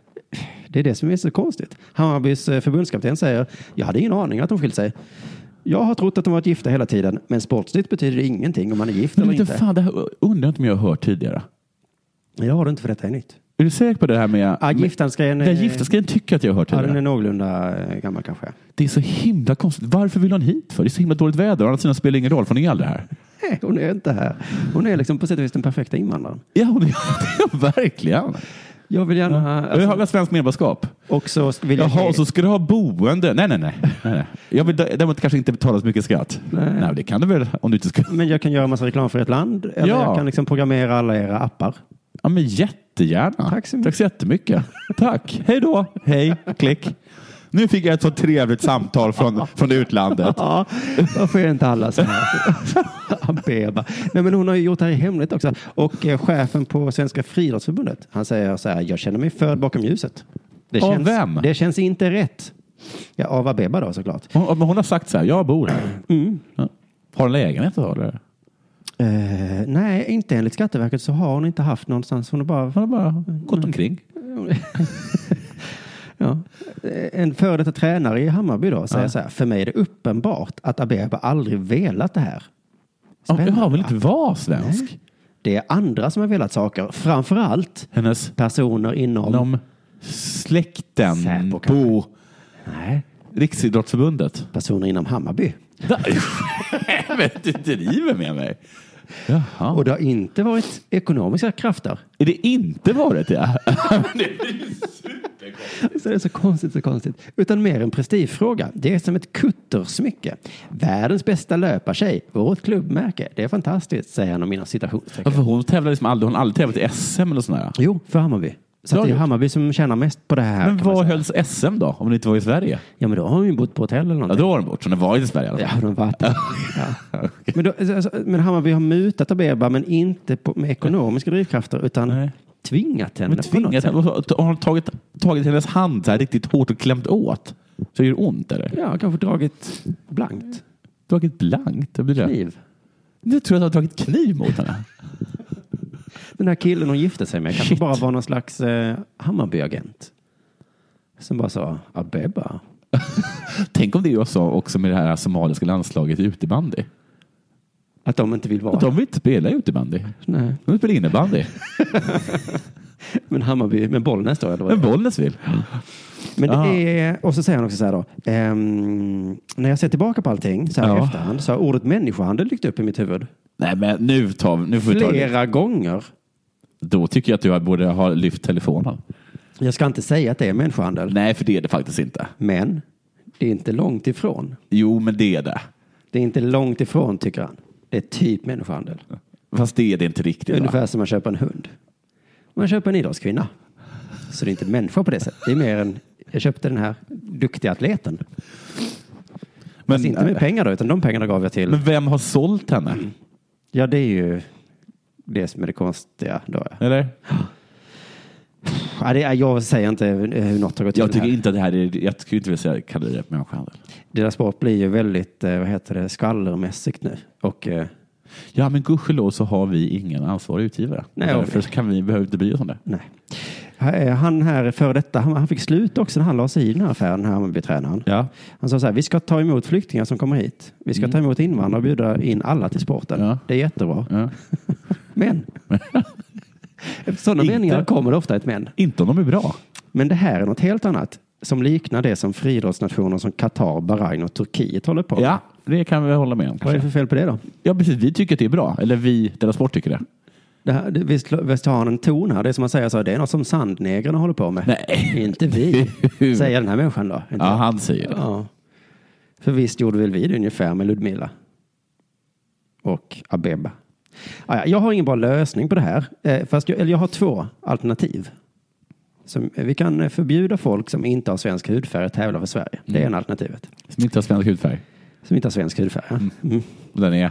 S6: Det är det som är så konstigt. Hammarbys eh, förbundskapten säger, jag hade ingen aning att de skilt sig. Jag har trott att de varit gifta hela tiden, men sportsligt betyder det ingenting om man är gift
S4: Men
S6: eller
S4: vet du
S6: inte.
S4: fan, det här undrar inte om jag har hört tidigare.
S6: Det har du inte för detta är nytt.
S4: Är du säker på det här med...
S6: Ja,
S4: med-
S6: giftansgrejen
S4: Den giftasgrejen tycker jag att jag har hört
S6: ja, den
S4: tidigare.
S6: är någorlunda eh, gammal kanske.
S4: Det är så himla konstigt. Varför vill hon hit för? Det är så himla dåligt väder. Å andra sidan spelar det ingen roll, för hon är aldrig här.
S6: Nej, hon är inte här. Hon är liksom på sätt och vis den perfekta invandraren.
S4: Ja, hon är, [laughs] ja, verkligen.
S6: Jag vill gärna...
S4: jag har
S6: Alltså,
S4: väl svenskt medborgarskap.
S6: och så vill jag...
S4: Jaha, och så ska du ha boende. Nej, nej, nej. nej, nej. Jag vill dä- däremot kanske inte betala så mycket skatt. Nej, det kan du väl om du inte ska...
S6: Men jag kan göra massa reklam för ett land. Eller
S4: Ja.
S6: jag kan liksom programmera alla era appar.
S4: Ja, men jättegärna.
S6: Tack så mycket.
S4: Tack så jättemycket. Tack. [laughs] Hej då. Hej. Klick. Nu fick jag ett så trevligt samtal från, från utlandet.
S6: Ja, varför är inte alla så här? Abeba. Nej, men hon har ju gjort det här i hemlighet också. Och eh, chefen på Svenska friidrottsförbundet, han säger så här, jag känner mig förd bakom ljuset. Det
S4: Av
S6: känns,
S4: vem?
S6: Det känns inte rätt. Ja, av Abeba då såklart.
S4: Hon, men hon har sagt så här, jag bor här. Ja. Har hon lägenhet då? Eller?
S6: Eh, nej, inte enligt Skatteverket så har hon inte haft någonstans. Hon har bara...
S4: Hon har bara gått omkring.
S6: Ja. Eh, En före detta tränare i Hammarby då säger så här, för mig är det uppenbart att Abeba aldrig velat det här.
S4: Ja, men Hon vill
S6: va?
S4: inte vara svensk.
S6: Det är andra som har velat saker, framför allt
S4: Hennes
S6: personer inom...
S4: om släkten
S6: Säpo kanske.
S4: på
S6: Nej.
S4: [laughs] Riksidrottsförbundet.
S6: personer inom Hammarby.
S4: Men du driver med mig. Jaha.
S6: Och det har inte varit ekonomiska krafter.
S4: Är det inte varit [laughs] det?
S6: Så det är så konstigt, så konstigt. Utan mer en prestigefråga. Det är som ett kuttersmycke. Världens bästa löpartjej, vårt klubbmärke. Det är fantastiskt, säger han om mina
S4: Ja,
S6: citationstecken.
S4: för hon tävlar liksom aldrig, hon har aldrig tävlat i SM eller sådär.
S6: Jo, för Hammarby. Så
S4: Bra
S6: att det är
S4: gjort.
S6: Hammarby som tjänar mest på det här.
S4: Men
S6: kan man
S4: var
S6: säga.
S4: hölls SM då? Om det inte var i Sverige?
S6: Ja, men då har hon ju bott på hotell eller
S4: Ja,
S6: någonting.
S4: då har hon bort. Så hon var i Sverige i alla
S6: Ja,
S4: fall.
S6: de var ja. men, då, alltså, men Hammarby har mutat Abeba, men inte på, med ekonomiska drivkrafter, utan
S4: Nej.
S6: tvingat henne
S4: Men
S6: på något
S4: tvingat
S6: sätt.
S4: henne. Hon har tagit, tagit hennes hand så här riktigt hårt och klämt åt. Så det gör ont eller?
S6: Ja, kanske dragit blankt.
S4: Dragit blankt? Vad blir det?
S6: Kniv.
S4: Nu tror jag att hon har dragit kniv mot
S6: [laughs]
S4: henne.
S6: Den här killen hon gifte sig med kanske
S4: Shit.
S6: bara var någon slags eh, Hammarbyagent. Som bara sa Abeba.
S4: Tänk om det är jag sa också med det här somaliska landslaget i utebandy.
S6: Att de inte vill vara.
S4: Att de vill inte spela i utebandy.
S6: Nej.
S4: De vill spela innebandy.
S6: Men Hammarby, men Bollnäs då? Eller vad
S4: Men
S6: det är.
S4: Bollnäs vill.
S6: men
S4: Aha.
S6: det är, och så säger han också så här då. ehm, när jag ser tillbaka på allting så här
S4: Ja.
S6: i efterhand så har ordet människohandel dykt upp i mitt huvud.
S4: Nej, men nu, tar, vi- nu får vi ta det.
S6: Flera gånger.
S4: Då tycker jag att du borde ha lyft telefonen.
S6: Jag ska inte säga att det är människohandel.
S4: Nej, för det är det faktiskt inte.
S6: Men det är inte långt ifrån.
S4: Jo, men det är det.
S6: Det är inte långt ifrån tycker han. Det är typ människohandel.
S4: Fast det är det inte riktigt. Va?
S6: Ungefär som man köper en hund. Man köper en idrottskvinna. Så det är inte en människa på det sättet. Det är mer en, jag köpte den här duktiga atleten.
S4: Men,
S6: Fast inte med pengar då, utan de pengarna gav jag till.
S4: Mm. men vem har sålt henne?
S6: Ja, det är ju det som är det konstiga då.
S4: Eller?
S6: Ja, det, är- jag säger inte eh, hur något har gått
S4: Jag
S6: till
S4: tycker
S6: här.
S4: inte att det här är, jag skulle inte vilja säga, kalla det människohandel.
S6: Deras sport blir ju väldigt, eh, vad heter det, skvallermässigt nu. Och, eh,
S4: Ja, men gudskelov så har vi ingen ansvarig utgivare.
S6: Nej,
S4: Därför så kan vi, behöver vi inte bry oss om det.
S6: Nej. Eh, Han här före detta, han, han fick slut också när han la sig i den här affären, den här Hammarbytränaren.
S4: Ja.
S6: Han sa så här, vi ska ta emot flyktingar som kommer hit. Vi ska
S4: Mm.
S6: ta emot invandrare och bjuda in alla till sporten. Det är jättebra. [laughs] men.
S4: [laughs]
S6: Efter Sådana
S4: Inte-
S6: meningar kommer det ofta ett men.
S4: Inte om de är bra.
S6: Men det här är något helt annat som liknar det som friidrottsnationer som Qatar, Bahrain och Turkiet håller på med.
S4: Ja, det kan vi hålla med om.
S6: Vad är det för fel på det då?
S4: Ja, precis. Vi tycker att det är bra. Eller vi, Della Sport, tycker det.
S6: Det här, det, visst, visst har han en ton här? Det är som man säger så, här, det är något som sandnegrarna håller på med. Nej. Inte
S4: [laughs]
S6: vi, säger den här människan då. Inte
S4: Ja, han säger det.
S6: Ja. För visst gjorde väl vi det ungefär med Ludmilla? Och Abeba. Ah, ja, Jag har ingen bra lösning på det här. Eh, Fast jag, eller jag har två alternativ. Som, eh, vi kan eh, förbjuda folk som inte har svensk hudfärg att tävla för Sverige. Det
S4: Mm.
S6: är en alternativet.
S4: Som inte har svensk hudfärg.
S6: Som inte har svensk hudfärg. ja. Mm.
S4: Och den är?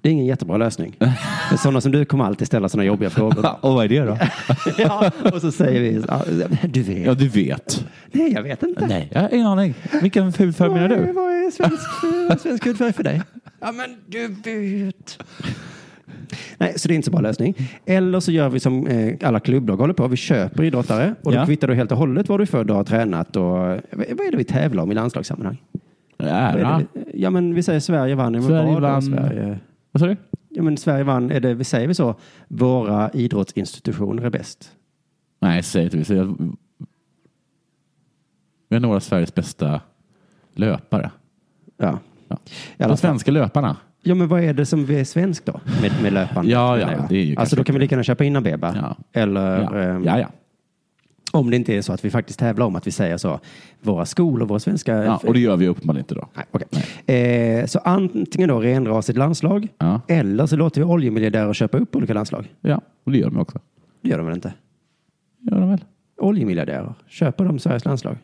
S6: Det är ingen jättebra lösning. Men sådana som du kommer alltid ställa sådana
S4: [laughs]
S6: jobbiga frågor.
S4: och vad är det då?
S6: [laughs] ja, och så säger vi, ja, du vet.
S4: Ja, du vet.
S6: Nej, jag vet inte.
S4: Nej, jag har ingen aning. Vilken hudfärg menar du?
S6: Vad är svensk, vad är svensk hudfärg för dig? Ja, men du vet. Nej, så det är inte så bra lösning. Eller så gör vi som eh, alla klubblag håller på. Vi köper idrottare och
S4: Ja.
S6: då kvittar du helt och hållet vad du för dag har tränat och vad vad är det vi tävlar om i landslagssammanhang? Vad är
S4: Ära.
S6: det vi- Ja, men vi säger Sverige vann. Ja, men
S4: Sverige
S6: vad då,
S4: vann.
S6: Sverige?
S4: Vad sa du?
S6: Ja, men Sverige vann. Är det, vi säger vi så? Våra idrottsinstitutioner är bäst.
S4: Nej, säg inte vi. säger att- Vi har några av Sveriges bästa löpare.
S6: Ja. I alla
S4: De
S6: fall.
S4: svenska löparna.
S6: Ja, men vad är det som är svenskt då? Med, med löpan?
S4: Ja, ja,
S6: menar jag.
S4: det är ju
S6: alltså
S4: kanske-
S6: då kan vi lika gärna köpa in Abeba. Eller ehm,
S4: Ja, ja.
S6: om det inte är så att vi faktiskt tävlar om att vi säger så. Våra skolor, våra svenska...
S4: ja och det gör vi uppenbarligen inte då.
S6: Nej, okej. Eh, så antingen då renrasigt landslag. Eller så låter vi oljemiljardärer köpa upp olika landslag.
S4: Ja, och det gör de också.
S6: Det gör de väl inte?
S4: Gör de väl?
S6: Oljemiljardärer, köper de Sveriges landslag?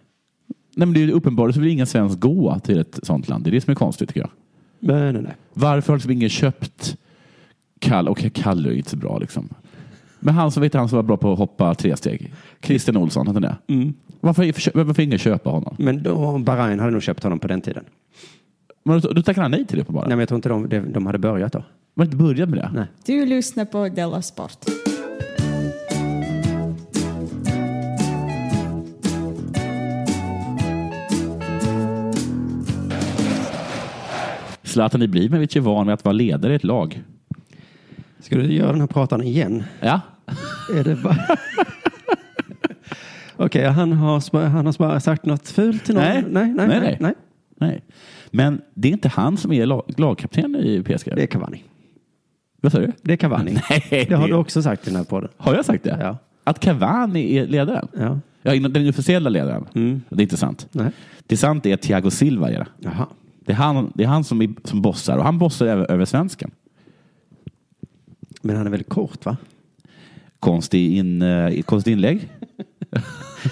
S4: Nej, men det är ju uppenbart så vill ingen svensk gå till ett sånt land. Det är det som är konstigt tycker jag.
S6: Nej, nej, nej.
S4: Varför har liksom ingen köpt Kalle? Okej, Kalle är ju inte så bra liksom. Men han som, vet du, han som var bra på att hoppa tre steg. Christian Olsson, hette han det?
S6: Mm.
S4: Varför, varför ingen köpa honom?
S6: Men då, Bahrain hade nog köpt honom på den tiden.
S4: Men då, då tackade han nej till det på bara.
S6: Nej, men jag tror inte de, de, de hade börjat då.
S4: Var det inte börjat med det?
S6: Nej.
S9: Du lyssnar på Della Sport.
S4: Zlatan Ibrahimovic är van vid att vara ledare i ett lag.
S6: Ska du göra den här pratan igen?
S4: Ja.
S6: Är det bara... [laughs] Okej, han, har, sp- han har sp- sagt något fult till någon?
S4: Nej.
S6: nej, nej.
S4: Nej,
S6: nej,
S4: nej.
S6: nej.
S4: Nej. Men det är inte han som är lag, lagkapten i PSG? Det är
S6: Cavani.
S4: Vad sa du?
S6: Det är Cavani. [laughs]
S4: Nej.
S6: Det har du också sagt i den här podden.
S4: Har jag sagt det?
S6: Ja.
S4: Att Cavani är ledaren?
S6: Ja.
S4: Ja, inom den officiella ledaren. Det är inte sant.
S6: Nej.
S4: Det sant är att Thiago Silva är det.
S6: Jaha.
S4: Det är han, det är han som, är, som bossar och han bossar över, över svensken.
S6: Men han är väldigt kort, va?
S4: Konstig, in, eh, konstig inlägg.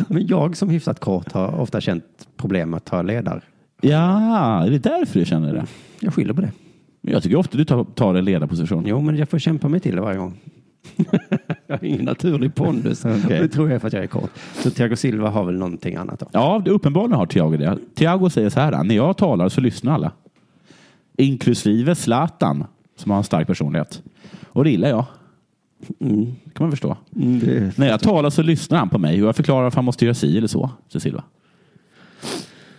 S6: Men jag som hyfsat kort har ofta känt problem med att ta ledar.
S4: Ja, är det därför du känner det?
S6: Jag skyller på det.
S4: Men Jag tycker ofta du tar, tar en ledarposition.
S6: Jo, men jag får kämpa mig till det varje gång. [laughs] jag har ingen naturlig pondus.
S4: Okej.
S6: Det tror jag är för att jag är kort. Så Thiago Silva har väl någonting annat då.
S4: Ja, det uppenbarligen har Thiago det. Thiago säger så här, när jag talar så lyssnar alla. Inklusive Zlatan, som har en stark personlighet. Och det gillar jag. Det kan man förstå. När jag talar så lyssnar han på mig och jag förklarar varför han måste göra si eller så, säger Silva.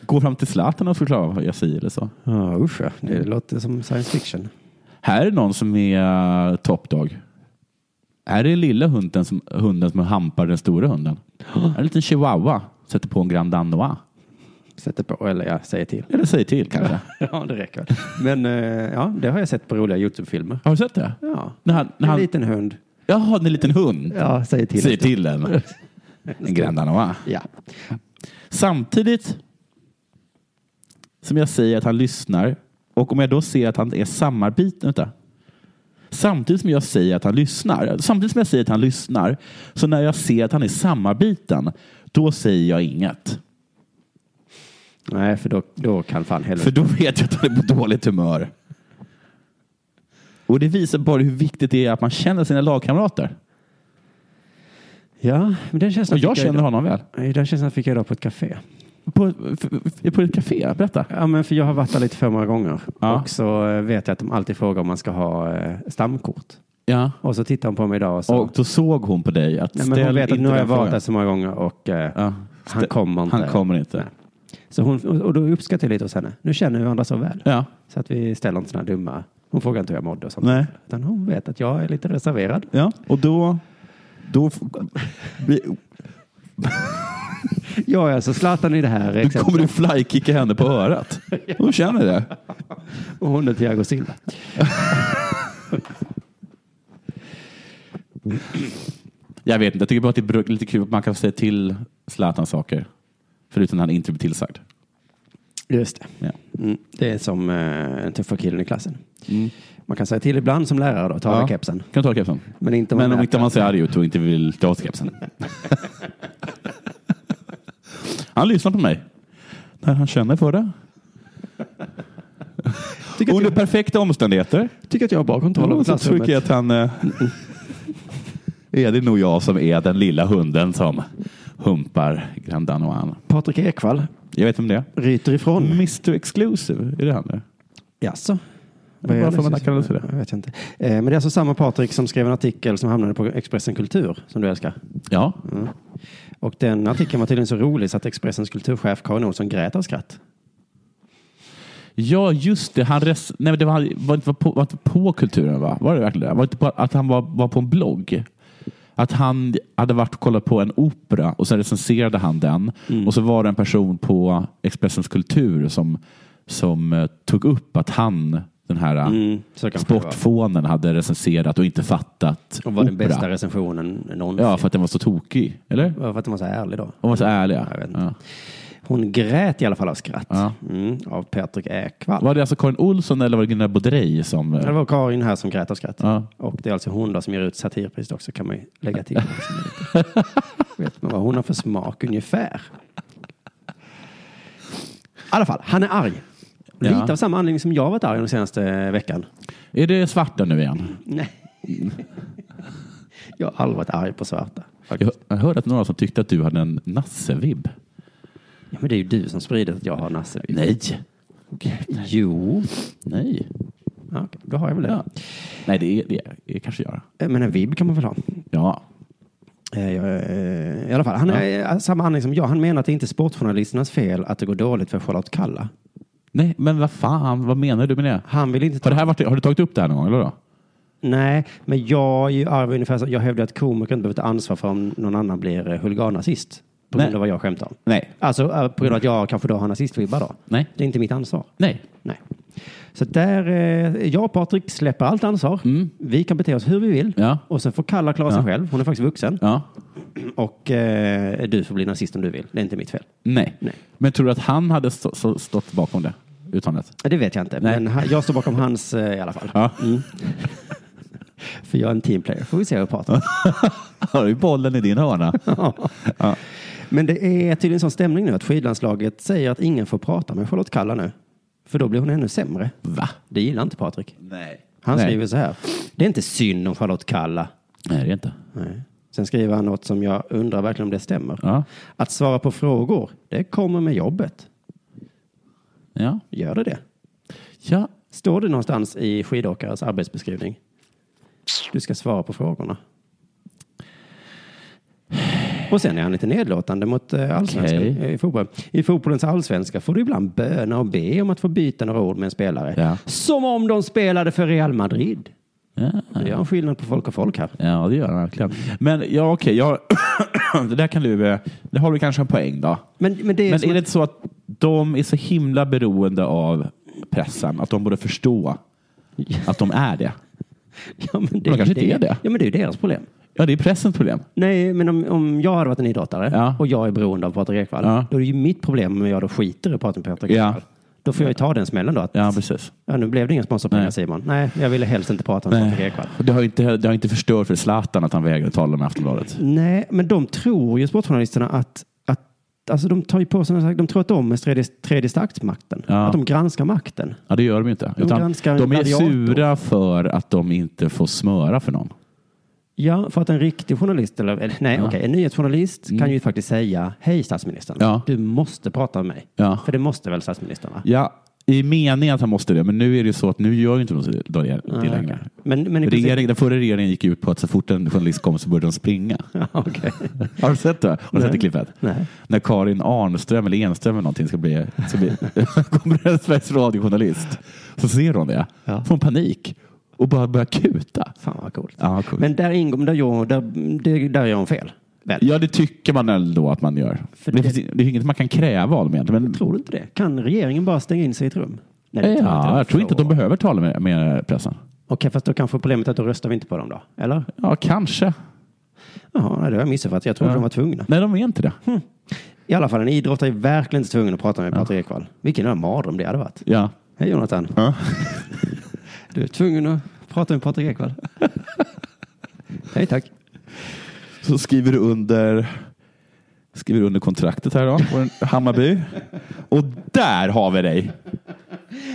S4: Gå fram till Zlatan och förklara varför jag gör si eller så.
S6: Ja, usch ja. Det låter som science fiction.
S4: Här är någon som är eh, toppdag. Här är lilla hunden som, hunden som hampar den stora hunden. Här är en liten chihuahua. Sätter på en Grand Danois.
S6: Sätter på, eller jag säger till.
S4: Eller säger till kanske.
S6: [laughs] Ja, det räcker. Men eh, ja, det har jag sett på roliga YouTube-filmer.
S4: Har du sett det?
S6: Ja.
S4: När han, när
S6: En
S4: han,
S6: liten hund.
S4: Jaha, en liten hund.
S6: Ja, säger till.
S4: Säger till den. En Grand Danois.
S6: Ja.
S4: Samtidigt som jag säger att han lyssnar och om jag då ser att han är samarbeten. Vänta. Samtidigt som jag säger att han lyssnar. Samtidigt som jag säger att han lyssnar. Så när jag ser att han är samarbeten. Då säger jag inget.
S6: Nej, för då, då kan fan helvete.
S4: För då vet jag att han är på dåligt humör. Och det visar bara hur viktigt det är att man känner sina lagkamrater.
S6: Ja, men den känslan
S4: Och jag
S6: fick
S4: känner
S6: idag-
S4: honom väl.
S6: Nej, Den känslan fick jag idag på ett café.
S4: På, f- på ett café? Berätta.
S6: Ja, men för jag har varit där lite för många gånger. Och så eh, vet jag att de alltid frågar om man ska ha eh, stamkort.
S4: Ja.
S6: Och så tittade hon på mig idag och sa...
S4: Och då såg hon på dig att
S6: Nej, men hon
S4: ställ
S6: vet att
S4: inte
S6: nu har jag
S4: den
S6: varit
S4: frågan.
S6: där så många gånger och eh, han kommer inte.
S4: Han kommer inte.
S6: Nej. Så hon, och och då uppskattar jag lite hos henne. Nu känner vi varandra så väl.
S4: Ja.
S6: Så att vi ställer inte sådana dumma... Hon frågar inte hur jag mådde och sånt.
S4: Nej.
S6: Utan hon vet att jag är lite reserverad.
S4: Ja, och då... då f- bli-
S6: Jag är alltså Zlatan i det här
S4: då kommer du flykicka henne på
S6: [laughs]
S4: örat. Hon känner det.
S6: Och hon är Thiago Silva.
S4: Jag vet inte, jag tycker bara att det är br- lite kul att man kan säga till Zlatan saker. Förutom när han inte blir tillsagd.
S6: Just det. Mm. Det är som eh, den tuffa killen i klassen. Man kan säga till ibland som lärare då, ta av dig kepsen.
S4: Kan du ta kepsen?
S6: Men inte om
S4: Men
S6: man
S4: om
S6: märker
S4: inte man
S6: att-
S4: ser arg ut och inte vill ta av sig kepsen. han lyssnar på mig. När han känner för det. Under perfekta omständigheter.
S6: Tycker att jag har bra kontroll över
S4: Ja, så
S6: klassrummet.
S4: tycker jag att han... eh, är det nog jag som är den lilla hunden som humpar Grand Danoan.
S6: Patrik Ekwall
S4: Jag vet om det är.
S6: ryter ifrån.
S4: Mr Exclusive, är det han nu?
S6: Jaså?
S4: Varför man kallades för det?
S6: Jag vet inte. Eh, Men det är alltså samma Patrik som skrev en artikel som hamnade på Expressen Kultur som du älskar.
S4: Ja.
S6: Mm. Och den artikeln var tydligen så rolig så att Expressens kulturchef Karin Olsson grät av skratt.
S4: Ja, just det. Han res... Nej, men det var, var, inte på, var inte på kulturen, va? Var det verkligen det? Var det inte på, att han var, var på en blogg? Att han hade varit och kollat på en opera och sen recenserade han den.
S6: Mm.
S4: Och så var det en person på Expressens kultur som, som eh, tog upp att han, den här eh,
S6: Mm, så kanske det var.
S4: sportfånen, hade recenserat och inte fattat
S6: Och var den
S4: opera.
S6: bästa recensionen någonsin.
S4: Ja, för att den var så tokig. Eller?
S6: Ja, för att de var så ärlig då.
S4: De var så ärliga.
S6: Jag vet inte.
S4: Ja.
S6: Hon grät i alla fall av skratt.
S4: Ja.
S6: Mm, av Patrik Ekwall.
S4: Var det alltså Karin Olsson eller var det Gunnar Baudrey som... eh,
S6: Ja, Det var Karin här som grät av skratt.
S4: Ja.
S6: Och det är alltså hon då som ger ut satirpriset också kan man ju
S4: [laughs]
S6: lägga till. Vet man vad hon har för smak ungefär. I alla fall, han är arg.
S4: Ja.
S6: Lite av samma anledning som jag varit arg den senaste veckan.
S4: Är det svarta nu igen?
S6: Nej. Jag har aldrig varit arg på svarta.
S4: Jag, jag hörde att några som tyckte att du hade en nassevibb.
S6: Ja, men det är ju du som sprider att jag har nassevin.
S4: Nej.
S6: Jo.
S4: Nej.
S6: Ja, okej, då har jag väl det.
S4: Ja. Nej, det är, det är, det är kanske jag.
S6: Eh, Men en vibb kan man väl ha?
S4: Ja.
S6: Eh, jag, eh, I alla fall, han är eh, samma anledning som jag. Han menar att det inte är sportjournalisternas fel att det går dåligt för Charlotte Kalla.
S4: Nej, men vad fan, vad menar du med det?
S6: Han vill inte ta...
S4: Har, det här varit, har du tagit upp det här någon gång? Eller då?
S6: Nej, men jag är ju arg ungefär så. Jag hävdar att komiker inte behöver ta ansvar för om någon annan blir eh, huliganazist. På
S4: Nej.
S6: grund av vad jag skämtar om.
S4: Nej.
S6: Alltså eh, på grund av att jag kanske då har nazistvibbar då.
S4: Nej.
S6: Det är inte mitt ansvar.
S4: Nej.
S6: Nej. Så där, eh, jag och Patrik släpper allt ansvar. Vi kan bete oss hur vi vill.
S4: Mm. Ja.
S6: Och sen får Kalla klara sig
S4: Ja.
S6: själv. Hon är faktiskt vuxen.
S4: Ja.
S6: Och eh, du får bli nazist om du vill. Det är inte mitt fel.
S4: Nej.
S6: Nej.
S4: Men tror du att han hade stå, så- stått bakom det uttalandet?
S6: Det vet jag inte.
S4: Nej.
S6: Men ha- jag står bakom hans eh, i alla fall.
S4: Ja. [laughs]
S6: För jag är en teamplayer. Får vi se hur Patrik.
S4: Har du bollen i din hörna? Ja.
S6: Men det är tydligen sån stämning nu att skidlandslaget säger att ingen får prata med Charlotte Kalla nu. För då blir hon ännu sämre.
S4: Va?
S6: Det gillar inte Patrik.
S4: Nej.
S6: Han
S4: Nej.
S6: skriver så här. Det är inte synd om Charlotte Kalla.
S4: Nej, det är inte.
S6: Nej. Sen skriver han något som jag undrar verkligen om det stämmer.
S4: Ja.
S6: Att svara på frågor, det kommer med jobbet.
S4: Ja.
S6: Gör det det?
S4: ja.
S6: Står det någonstans i skidåkares arbetsbeskrivning? Du ska svara på frågorna. Och sen är han lite nedlåtande mot eh, allsvenskan
S4: Okej.
S6: eh, i fotboll. I fotbollens allsvenska får du ibland böna och be om att få byta några ord med en spelare.
S4: Ja.
S6: Som om de spelade för Real Madrid.
S4: ja.
S6: Det är en skillnad på folk och folk här.
S4: Ja, det gör han verkligen. Men ja, okej. jag- [coughs] det där kan du... eh, Det har du kanske en poäng då.
S6: Men, men det är,
S4: Men
S6: som
S4: är det
S6: att-
S4: inte så att de är så himla beroende av pressen att de borde förstå att de är det?
S6: [laughs] ja, men det,
S4: de kanske inte är det.
S6: Ja, men det är ju deras problem.
S4: Ja, det är pressens problem.
S6: Nej, men om, om jag hade varit en idrottare
S4: Ja.
S6: och jag är beroende av Patrik Ekwall,
S4: Ja.
S6: då är det ju mitt problem om jag då skiter i att prata med Patrik
S4: Ja.
S6: Ekwall. Då får jag ju ta den smällen då. Att,
S4: Ja, precis.
S6: Ja, nu blev det inga sponsorpengar
S4: Nej.
S6: Simon. Nej, jag ville helst inte prata med Patrik Ekwall.
S4: Och Det har, inte, det har inte förstört för Zlatan att han vägrade tala med Aftonbladet.
S6: Nej, men de tror ju sportjournalisterna att, att Alltså de tar ju på sig, de tror att de är tredje, tredje statsmakten.
S4: Ja.
S6: Att de granskar makten.
S4: Ja, det gör de ju inte.
S6: De
S4: Utan
S6: granskar
S4: de är
S6: gladiator.
S4: sura för att de inte får smöra för någon.
S6: Ja, för att en riktig journalist, eller eller- nej, okej, en nyhetsjournalist
S4: Mm.
S6: kan ju faktiskt säga, hej statsministern, du måste prata med mig. För det måste väl statsministern? Va?
S4: Ja, i meningen att han måste det, men nu är det ju så att nu gör ju inte de så- det
S6: Nej,
S4: längre.
S6: okej. Men, men i princip-
S4: Regering, den förra regeringen gick ut på att så fort en journalist kom så började de springa.
S6: [laughs]
S4: Har du sett det? Har du sett det
S6: Nej.
S4: klippet?
S6: Nej.
S4: När Karin Arnström eller Enström eller någonting ska bli, ska bli [laughs] kommer en Sveriges radiojournalist så ser hon det, får hon panik och bara börjar kuta.
S6: Fan vad coolt.
S4: Ja, coolt.
S6: Men där ingår, men där gör, där, det- där gör hon fel.
S4: Ja, det tycker man väl då att man gör. Det,
S6: det-
S4: finns, det är inget man kan kräva av dem egentligen. Men,
S6: Tror du inte det? Kan regeringen bara stänga in sig i ett rum? det tror jag inte.
S4: ja, jag tror inte att de behöver tala med, med pressen.
S6: Okej, fast då kanske problemet är att då röstar vi inte på dem då? Eller?
S4: Ja, kanske.
S6: Jaha, nej, det har jag missuppfattat. Jag trodde
S4: Ja.
S6: de var tvungna.
S4: Nej, de är inte det.
S6: I alla fall, en idrottare är verkligen inte tvungen att prata med Patrik Ekwall. Vilken jävla mardröm det hade varit.
S4: Ja.
S6: Hej Jonathan. [laughs] Du är tvungen att prata med
S4: [laughs]
S6: Patrik Ekwall. Hej, tack.
S4: Så skriver du under skriver du under kontraktet här då, på en- Hammarby. Och där har vi dig!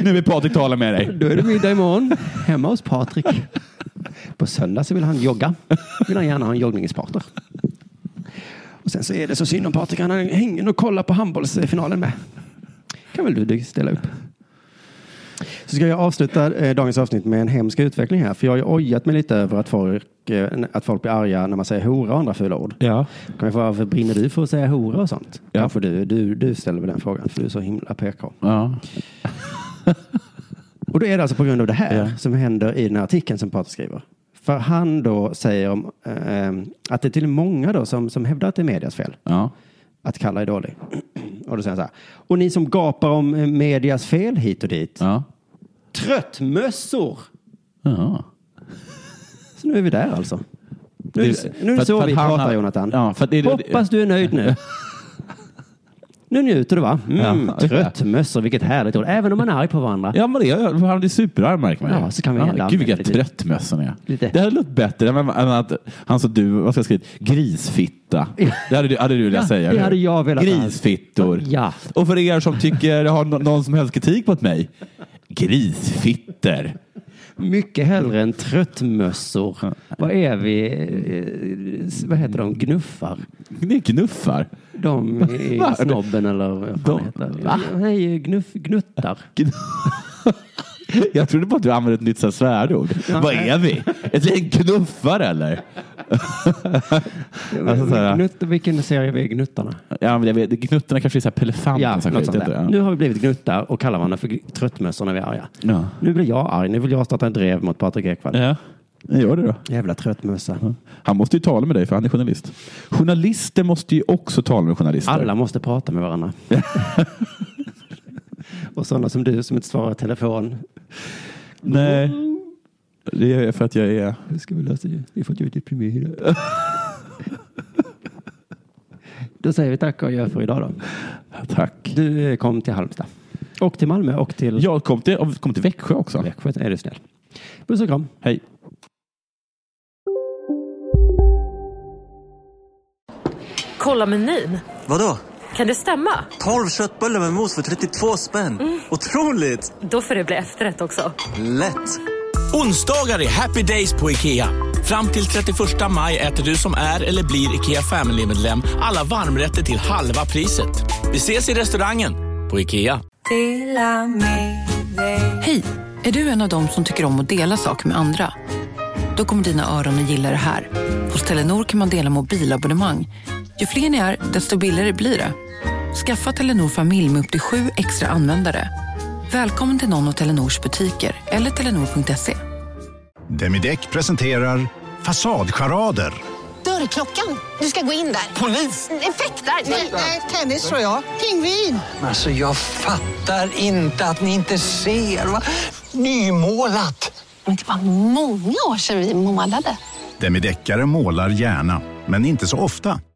S4: Nu vill Patrik tala med dig.
S6: Då är det middag imorgon hemma hos Patrik. På söndag så vill han jogga. Vill han gärna ha en joggningspartner. Och sen så är det så synd om Patrik. Han hänger och kollar på handbollsfinalen med. Kan väl du ställa upp? Så ska jag avsluta eh, dagens avsnitt med en hemsk utveckling här. För jag har ju ojat mig lite över att folk, eh, att folk blir arga när man säger hora och andra fula ord.
S4: Ja.
S6: Kan vi få, varför brinner du för att säga hora och sånt? Ja. för du, du, du ställer väl den frågan. För du är så himla PK.
S4: Ja.
S6: Och då är det alltså på grund av det här som händer i den här artikeln som Patrik skriver. För han då säger om, ehm, att det är till många då som, som hävdar att det är medias fel. Att kalla är dålig. [clears throat] och då säger han så här. Och ni som gapar om eh, medias fel hit och dit. Tröttmössor!
S4: Ja.
S6: Så nu är vi där alltså. Nu,
S4: Det-
S6: nu är
S4: för
S6: det
S4: att-
S6: så
S4: för att
S6: vi
S4: han
S6: pratar
S4: har-
S6: Jonathan.
S4: Ja, för att det- det-
S6: Hoppas du är nöjd nu. [laughs] nu njuter du va? Mm,
S4: Ja.
S6: Tröttmössor, vilket härligt ord. Även om man är arg på varandra.
S4: Ja, men det är, han är superarg märker man ju.
S6: Ja, så kan vi ändå
S4: Gud
S6: använda
S4: vilka
S6: lite-
S4: trött mössan är.
S6: Lite.
S4: Det hade låtit bättre än än att han sa du, vad ska jag skriva, grisfitta. Det hade du, hade du velat
S6: Ja,
S4: säga.
S6: det hade jag velat ha.
S4: Grisfittor.
S6: Ja.
S4: Och för er som tycker, har nå- någon som helst kritik mot mig, grisfitter.
S6: Mycket hellre än tröttmössor. Vad är vi? eh, s- Vad heter de? Gnuffar?
S4: Ni knuffar.
S6: De
S4: Va?
S6: i snobben eller vad fan
S4: De-
S6: heter det?
S4: Va?
S6: Nej, gnuff, gnuttar.
S4: [laughs] Jag trodde bara att du använde ett nytt så här svärord.
S6: Ja.
S4: Vad är vi? Ett gäng knuffar eller? Alltså, [laughs] så här,
S6: Gnutt, vilken serie vi är gnuttarna?
S4: ja, men jag vet, gnuttarna kanske är så här pelefanten.
S6: Ja,
S4: så här
S6: något
S4: skit,
S6: sånt
S4: inte?
S6: där.
S4: Ja.
S6: Nu har vi blivit gnuttar och kallar varandra för gl- tröttmössor när vi är arga.
S4: Ja.
S6: Nu blir jag arg. Nu vill jag starta en drev mot Patrik Ekwall.
S4: Ja, gör det då.
S6: Jävla tröttmössa.
S4: Han måste ju tala med dig för han är journalist. Journalister måste ju också tala med journalister.
S6: Alla måste prata
S4: [laughs]
S6: med varandra. och sådana som du som inte svarar i telefon.
S4: Nej, det är för att jag är...
S6: Hur ska vi lösa det? Det är för att jag är deprimerad. Då säger vi tack och gör för idag då.
S4: Tack.
S6: Du eh, kom till Halmstad. Och till Malmö och till
S4: Jag kom till, och kom till Växjö också.
S6: Växjö. Är du snäll. Puss och kram.
S4: Hej.
S10: Kolla menyn.
S11: Vadå?
S10: Kan det stämma?
S11: 12 köttbullar med mos för 32 spänn.
S8: Mm.
S11: Otroligt!
S10: Då får det bli efterrätt också.
S11: Lätt!
S12: Onsdagar är happy days på IKEA. Fram till 31 maj äter du som är eller blir IKEA Family-medlem alla varmrätter till halva priset. Vi ses i restaurangen på IKEA.
S7: Hej! Är du en av dem som tycker om att dela saker med andra? Då kommer dina öron att gilla det här. Hos Telenor kan man dela mobilabonnemang. Ju fler ni är, desto billigare blir det. Skaffa Telenor familj med upp till sju extra användare. Välkommen till någon av Telenors butiker eller telenor.se.
S13: Demideck presenterar Fasadcharader.
S14: Dörrklockan. Du ska gå in där. Polis? Effektar? Nej, tennis tror jag. Pingvin.
S15: Alltså jag fattar inte att ni inte ser. Va? Nymålat!
S14: Men det var många år sedan vi målade.
S13: Demideckare målar gärna, men inte så ofta.